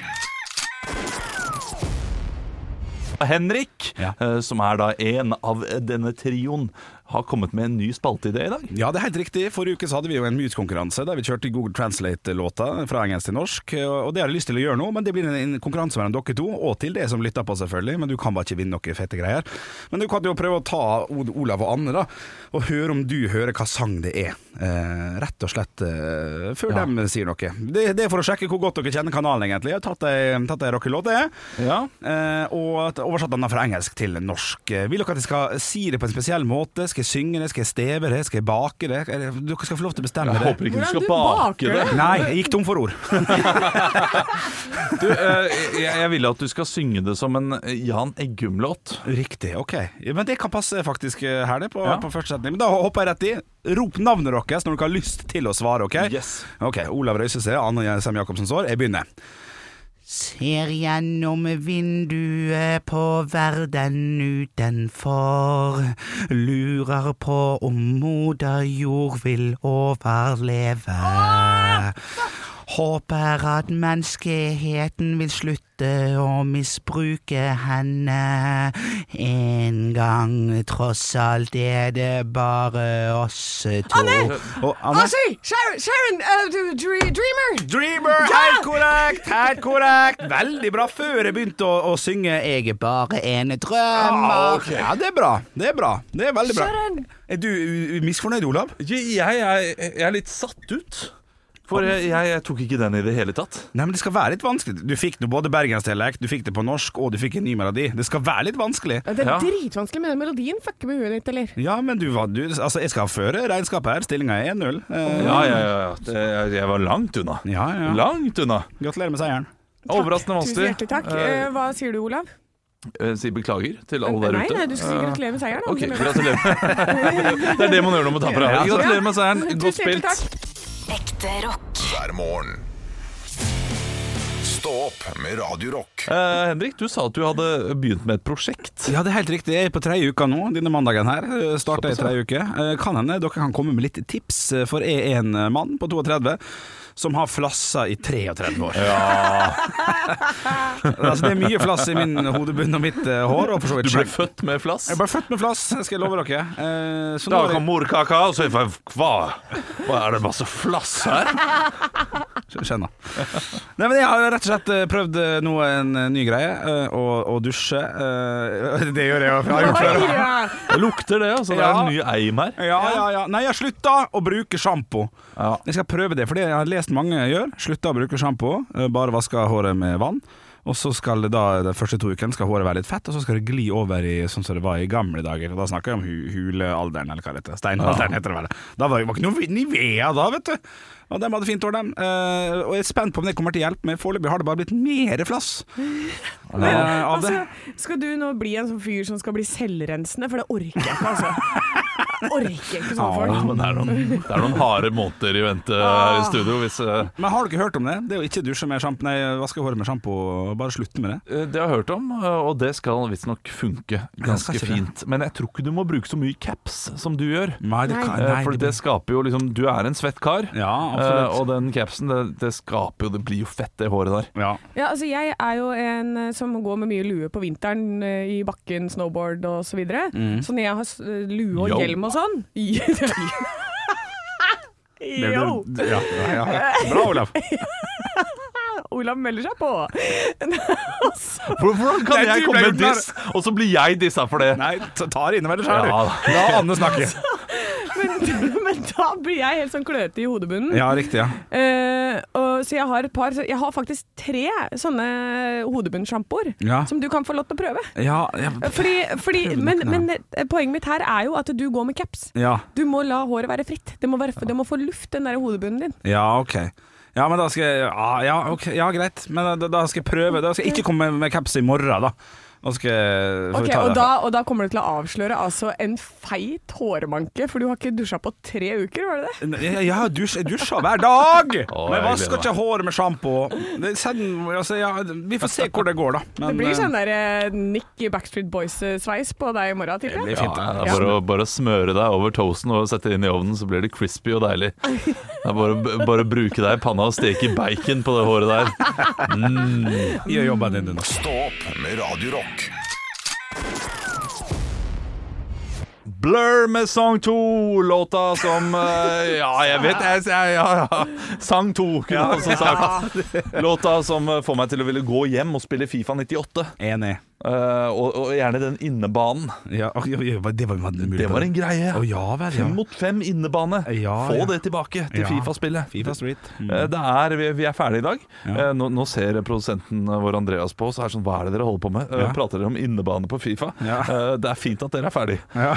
Henrik,
Ja.
eh, som er da en av denne trioen, har kommet med en ny spalteidé i dag.
Ja, det er helt riktig. Forrige uke så hadde vi jo en musekonkurranse der vi kjørte Google Translate-låta fra engelsk til norsk. Og det har jeg lyst til å gjøre nå, men det blir en- en konkurranse mellom dere to, og til det som lytter på, selvfølgelig. Men du kan bare ikke vinne noe fete greier. Men du kan jo prøve å ta O- Olav og Anne, da, og høre om du hører hva sang det er. Eh, rett og slett eh, før
Ja.
dem sier noe. Det, det er for å sjekke hvor godt dere kjenner kanalen, egentlig. Jeg har tatt ei- tatt ei rockelåt, jeg.
Ja.
Eh, og at- oversatt den da fra engelsk til norsk. Eh, Vil dere at jeg skal si det på en spesiell måte? Skal jeg synge det? Skal jeg steve det? Skal jeg bake det? Eller, Dere skal få lov til å bestemme
Jeg
det.
håper ikke du
Hvordan
skal
du baker
bake det.
Nei, jeg gikk tom for ord.
Du, eh, jeg, jeg ville at du skal synge det som en eh, Jan Eggum-låt.
Riktig, ok. Ja, Men det kan passe faktisk eh, her, det, på,
Ja.
på første setning. Men da hopper jeg rett i. Rop navnet deres når dere har lyst til å svare, ok?
Yes.
Ok, Olav Røisese, Anne Sem Jacobsen Sår, jeg begynner.
Ser gjennom vinduet på verden utenfor. Lurer på om moder jord vil overleve. Håper at menneskeheten vil slutte å misbruke henne. En gang tross alt er det bare oss to.
Og Anne?
Asi! Sharon! Ah, Sharon eh, du- dre- dreamer!
Dreamer! Helt korrekt! Helt korrekt! Veldig bra før jeg begynte å, å synge 'Jeg er bare en drømmer'.
Ah, ok.
Ja, det er bra. Det er bra. Det er veldig bra.
Sharon!
Er du u- u- misfornøyd, Olav?
Jeg, jeg, er- jeg er litt satt ut. For jeg, jeg, jeg tok ikke den i det hele tatt.
Nei, men Det skal være litt vanskelig. Du fikk nå både bergensdialekt, du fikk det på norsk, og du fikk en ny melodi. Det skal være litt vanskelig.
Ja, Det er
Ja.
dritvanskelig med den melodien. Fucker med huet ditt, eller?
Ja, men du, var- du Altså, jeg skal føre regnskapet her. Stillinga er 1-0. Eh,
Ja, ja, ja. ja. Det, jeg, jeg var langt unna.
ja, ja.
Langt unna.
Gratulerer med seieren.
Overraskende
Tusen hjertelig
vanskelig.
takk. Eh, Hva sier du, Olav?
Eh, Si beklager til alle der
nei,
ute.
nei, du skal
Eh,
si gratulerer med seieren. da.
Ok, gratulerer. Det er det man gjør når man taper. her. Gratulerer med seieren. Godt
Tusen hjertelig
spilt.
takk.
Ekte rock.
hver morgen. Stå opp med Radio Rock.
Eh, Henrik, du sa at du hadde begynt med et prosjekt.
Ja, det er helt riktig. Jeg er på tredje uka nå, denne mandagen her. Eh, Starter i
Såpass, ja.
tredje uke. Eh, Kan hende dere kan komme med litt tips, eh, for jeg er en eh, mann på 32 som har flassa i 33 år. altså, det er mye flass i min hodebunn og mitt eh, hår. Og for så vidt
Du ble
skjegg.
født med flass.
Jeg ble født med flass, skal jeg love dere. Eh, så nå
Da
er jeg-
kom morkaka, og så hva? hva Er det masse flass her?
Skjønner. Nei, men jeg har jo rett og slett eh, prøvd eh, nå en eh, ny greie, eh, å, å dusje. Eh, Det gjør jeg jo. Jeg har gjort før.
Det lukter det, altså. Det er
Ja.
en ny eim her.
Ja, ja, ja. Nei, jeg har slutta å bruke sjampo.
Ja.
Jeg skal prøve det, for det jeg har lest mange gjør. Slutta å bruke sjampo, eh, bare vaska håret med vann. Og så skal det da, De første to ukene skal håret være litt fett, og så skal det gli over i sånn som det var i gamle dager. Og Da snakker jeg om hu hulealderen, eller hva det heter. Steinalderen heter det vel. Da var det var ikke noe Nivea da, vet du. Og de hadde fint hår, dem. Eh, og jeg er spent på om det kommer til hjelp, men foreløpig har det bare blitt mer flass eh, av det.
Altså, skal du nå bli en sånn fyr som skal bli selvrensende? For det orker jeg ikke, altså. Jeg orker ikke sånne
Ja,
folk.
men det er noen, det er noen harde måneder i vente her i studio. Hvis, eh,
Men har dere hørt om det? Det å ikke dusje med sjampo, nei, vaske håret med sjampo, og bare slutte med det.
det har jeg hørt om, eh, og det skal visstnok funke
det skal
ganske
ikke det.
fint. Men jeg tror ikke du må bruke så mye caps som du gjør.
Nei, det kan,
Eh,
nei,
For det skaper jo liksom Du er en svett kar,
Ja,
eh,
absolutt.
og den capsen, det, det skaper jo Det blir jo fett, det håret der.
ja.
Ja, altså, jeg er jo en eh, som går med mye lue på vinteren, eh, i bakken, snowboard og så videre. Så når jeg har s- eh, lue
Mm.
og
Yo.
hjelm og sånn Yo!
Ja, ja, ja. Bra, Olav.
Olav melder seg på. Og så-
Hvordan kan
Nei,
jeg
du
komme
ble
med
jo
diss, og så blir jeg dissa for det?
Nei, ta ta det innover deg sjøl,
Ja,
du. La Anne snakke.
men, men da blir jeg helt sånn kløete i hodebunnen.
Ja, riktig, ja.
Eh, og, så jeg har et par så Jeg har faktisk tre sånne hodebunnsjampoer
Ja.
som du kan få lov til å prøve.
Ja, ja.
Fordi, fordi,
Prøv
men,
den,
men eh, poenget mitt her er jo at du går med caps.
ja.
Du må la håret være fritt. Det må, være, det må få luft, den der hodebunnen din.
ja ok. Ja, men da skal jeg Ja, ja, ok, ja greit. Men da, da skal jeg prøve. Da skal jeg ikke komme med- med caps i morgen, da. Da skal jeg får vi
Ok,
ta
og
det.
da, og da kommer du til å avsløre altså en feit hårmanke, for du har ikke dusja på tre uker, var det det?
Nei, Jeg, jeg har dusj, jeg dusjer hver dag! men
Å,
jeg
jeg
vasker
gleder
ikke håret med sjampo. Det- send- Altså, ja, vi får se hvor det går, da. Men,
Det blir
eh,
sånn der eh, Nick i Backstreet Boys-sveis på deg i morgen,
Det
tipper jeg.
blir fint.
Ja,
det.
det er bare, å, bare å smøre deg over toasten og sette det inn i ovnen, så blir det crispy og deilig. Det er bare, å- bare å bruke deg i panna og steke bacon på det håret der.
Gjør jobben din, du, nå.
Stå opp med Radio Rock.
Blur med Sang 2, låta som eh, Ja, jeg vet jeg, jeg, ja, ja. Sang 2, kunne jeg også sagt. Låta som eh, får meg til å ville gå hjem og spille Fifa 98.
Enig.
eh, og, og gjerne den innebanen.
Ja, ok, ja, ja, det var, mulig
Det
på
var en greie.
Å, ja vel, ja.
Fem mot fem innebane.
Ja,
Få
ja.
det tilbake til
Ja.
Fifa-spillet.
FIFA Street. Mm.
Eh, Det er, vi, vi er ferdige i dag.
Ja.
Eh, Nå, nå ser produsenten vår Andreas på oss og er sånn Hva er det dere holder på med? Eh,
Ja.
Prater dere om innebane på Fifa?
Ja.
Eh, Det er fint at dere er ferdige.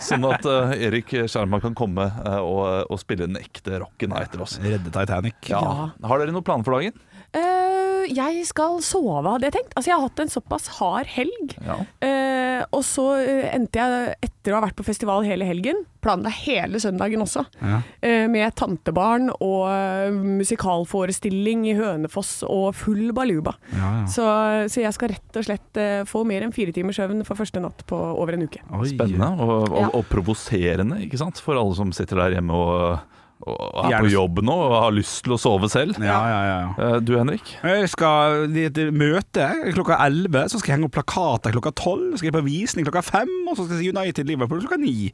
sånn at eh, Erik Skjerma kan komme eh, og, og spille den ekte rocken her etter oss.
Redde Titanic.
altså. Ja. Har dere noen planer for dagen?
Eh, jeg skal sove, hadde jeg tenkt. Altså, jeg har hatt en såpass hard helg. Eh, og så eh, endte jeg, etter å ha vært på festival hele helgen, planla hele søndagen også.
Ja.
Eh, med tantebarn og eh, musikalforestilling i Hønefoss og full baluba.
Ja, ja.
Så, så jeg skal rett og slett eh, få mer enn fire timers søvn for første natt på over en uke.
Oi.
Spennende og, og,
Ja.
og provoserende, ikke sant? For alle som sitter der hjemme og, og er
Gjerne-
på jobb nå og har lyst til å sove selv.
Ja, ja, ja. ja.
Eh, Du, Henrik?
Jeg skal i et møte klokka 11, så skal jeg henge opp plakater klokka 12, så skal jeg på visning klokka 5, og så skal jeg si United Liverpool klokka 9.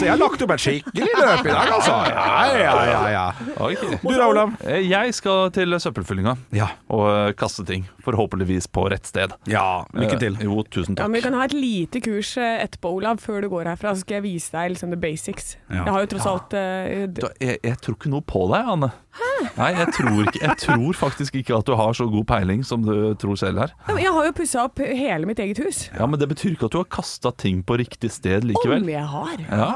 Så jeg har lagt opp et skikkelig løp i dag, altså. Ja, ja, ja, ja.
Ok.
Du da, Olav?
Eh, Jeg skal til søppelfyllinga
Ja.
og eh, kaste ting, forhåpentligvis på rett sted.
ja. Lykke til.
Eh, Jo, tusen
Ja,
takk.
men Vi kan ha et lite kurs eh, etterpå, Olav, før du går herfra. Så skal jeg vise deg liksom the basics.
Ja.
Jeg har jo tross alt eh, d-
Da, jeg, jeg tror ikke noe på deg, Anne. Nei, jeg tror, ikke, jeg tror faktisk ikke at du har så god peiling som du tror selv her.
Ja, men Jeg har jo pussa opp hele mitt eget hus.
Ja, Men det betyr ikke at du har kasta ting på riktig sted
Om
likevel.
jeg har.
Ja,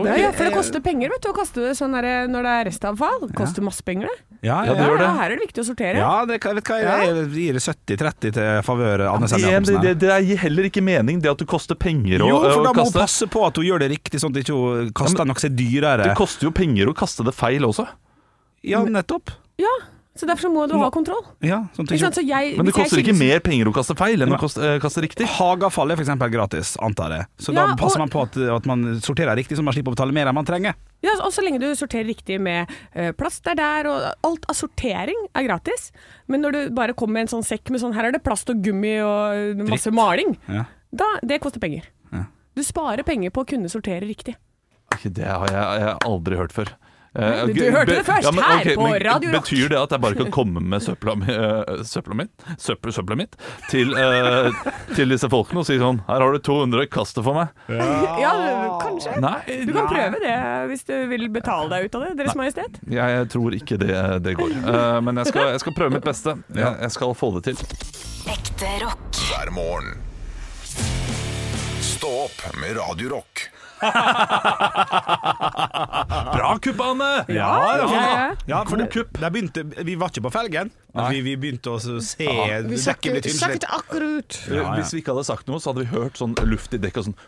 ok.
Ja, ja, for det koster penger vet du, å kaste det sånn der, når det er restavfall. Det koster masse penger, det.
Ja,
Ja, det
ja.
gjør det.
Ja, her er det viktig å sortere.
Ja, det, kan- vet du hva, jeg gir 70-30 til favør Anne Sandra
Igjen,
Jacobsen.
det,
her.
det, det gir heller ikke mening, det at det koster penger å,
Jo, for da
å
må hun
kaste.
passe på at hun gjør det riktig, sånn at hun ikke hun kaster noe som er dyrere.
Eh,
Det koster jo penger å kaste det feil også.
Ja, nettopp.
Ja, så derfor så må du ha kontroll.
Ja, sånn
Ikke
tenker
sant? Så jeg,
Men det
hvis jeg
koster ikke
skilles-
mer penger å kaste feil enn å
Nei.
kaste, eh, kaste riktig.
Hageavfall er for eksempel gratis, antar jeg. Så
Ja,
da passer man
og-
på at, at man sorterer riktig, så man slipper å betale mer enn man trenger.
Ja, og så lenge du sorterer riktig med eh, plast er der, og alt av sortering er gratis. Men når du bare kommer med en sånn sekk med sånn her er det plast og gummi og eh, masse maling,
Ja.
da, det koster penger. Du sparer penger på å kunne sortere riktig.
Ikke Det har jeg, jeg har aldri hørt før. Eh,
du
ok,
hørte
be-
det først
men
her
ok,
på
men
Radio Rock.
Betyr det at jeg bare kan komme med søpla, mi- eh, søpla mitt, søppel, søpla mitt til, eh, til disse folkene og si sånn Her har du 200, kast det for meg.
Ja, kanskje.
Nei,
Du kan prøve det hvis du vil betale deg ut av det, Deres Majestet.
jeg tror ikke det, det går. Eh, men jeg skal, jeg skal prøve mitt beste. Jeg, jeg skal få det til.
Ekte rock.
hver morgen. Stå opp med Radio Rock.
Bra kupp, Anne!
ja, ja.
sånn. for det, der begynte, vi var ikke på felgen, men vi, vi begynte å se dekket bli tynt slitt.
akkurat ut.
ja.
Eh, Hvis vi ikke hadde sagt noe, så hadde vi hørt sånn luft i dekket og sånn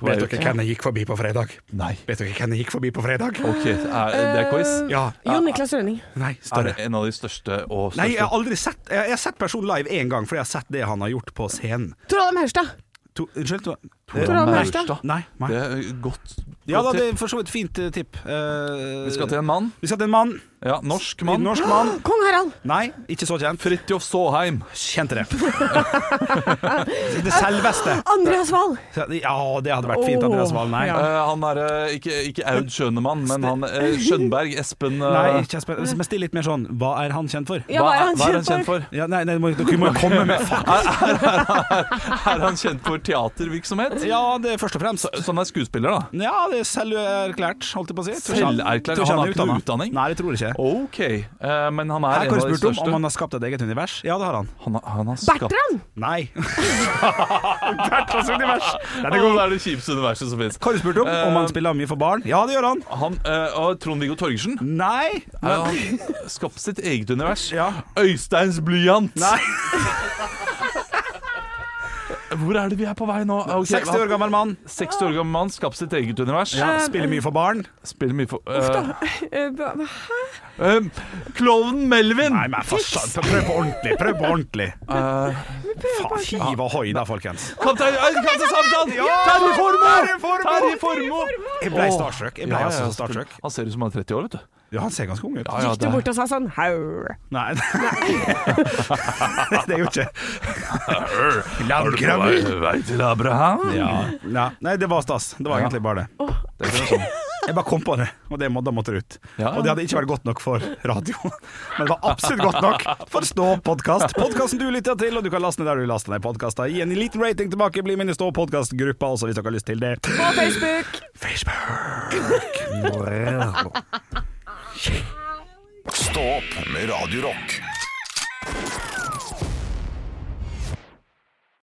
på vei
Vet
ut.
dere hvem jeg gikk forbi på fredag?
Nei.
Vet dere hvem jeg gikk forbi på fredag?
OK, er, det er quiz.
Ja.
Eh, Jon Niklas Rønning.
Nei,
Er
større.
det en av de største og største
Nei, jeg har aldri sett Jeg, jeg har sett personen live én gang, fordi jeg har sett det han har gjort på scenen.
Trondheim Haugstad.
To, unnskyld? To,
Trond
Nei,
Maurstad.
Maurstad.
Nei, nei.
Det er godt, godt
Ja da, det
tipp.
er for så vidt fint eh, tipp. Eh,
Vi skal til en mann.
vi skal til en mann.
Ja, norsk mann.
Norsk mann.
Kong Harald.
Nei, ikke så kjent.
Fridtjof Saaheim.
Kjente det. det selveste.
Andreas Wahl.
Ja, det hadde vært fint, Andreas Wahl. Nei.
Åh, ja.
Eh, han er eh, ikke, ikke Aud Schønemann, men han eh, Skjønberg Espen eh,
Nei, ikke Espen. Men still litt mer sånn Hva er han kjent for?
Ja, hva er han
hva
kjent for?
Ja, nei, nei, dere må- dere må jo komme med faen.
Er han kjent for teatervirksomhet?
Ja, det er først og fremst.
Så han er skuespiller, da?
Ja, det er selverklært, holdt jeg på å si. Tror ikke han-
Selverklært?
tror ikke
Han har
er
ikke noe
utdannet.
utdanning?
Nei, det tror jeg ikke.
OK, eh, men han
Her
er
kan
en
du
av de
spurt om
største.
om han har skapt et eget univers. Ja, det har han.
han, har- han har skapt
Bertrand!
Nei. Bertrands univers.
Å, Det er det kjipeste universet som fins.
Hva har du spurt om? Om
Eh,
han spiller mye for barn? Ja, det gjør han.
Han, eh, og Trond-Viggo Torgersen
Nei.
eh, Han skapte sitt eget univers.
Ja.
Øysteins blyant!
Nei.
Hvor er det vi er på vei nå? Ok,
60 år gammel mann.
60 år gammel mann, skapte sitt eget univers.
Spiller mye for barn.
Spiller mye for eh,
Eh, hva- hva-
eh, Klovnen Melvin!
Nei, men for satan. Prøv på ordentlig. Prøv på ordentlig. Faen, hiv ohoi da, folkens.
Kaptein eh, Kaptein Sabeltann! Terje Formoe! Terje Formoe!
Jeg ble starstruck. Jeg ble
Ja,
altså
ja,
så starstruck.
Han ser ut som han er 30 år, vet du.
Ja, han ser ganske ung ut.
Ja, ja,
Gikk du
det-
bort og sa sånn Haur.
Nei. det er jo ikke
Er du på vei- vei til Abraham?
Nei, Nei, det var stas. Det var egentlig bare det.
Det er sånn.
Jeg bare kom på det, og det må, da måtte det ut.
Ja.
Og det hadde ikke vært godt nok for radio, men det var absolutt godt nok for Stå-podkast. Podkasten du lytter til, og du kan laste ned der du laster ned podkaster. Gi en liten rating tilbake, bli med i Stå-podkast-gruppa også, hvis dere har lyst til det.
På Facebook.
Facebook.
Stå opp med Radio Rock.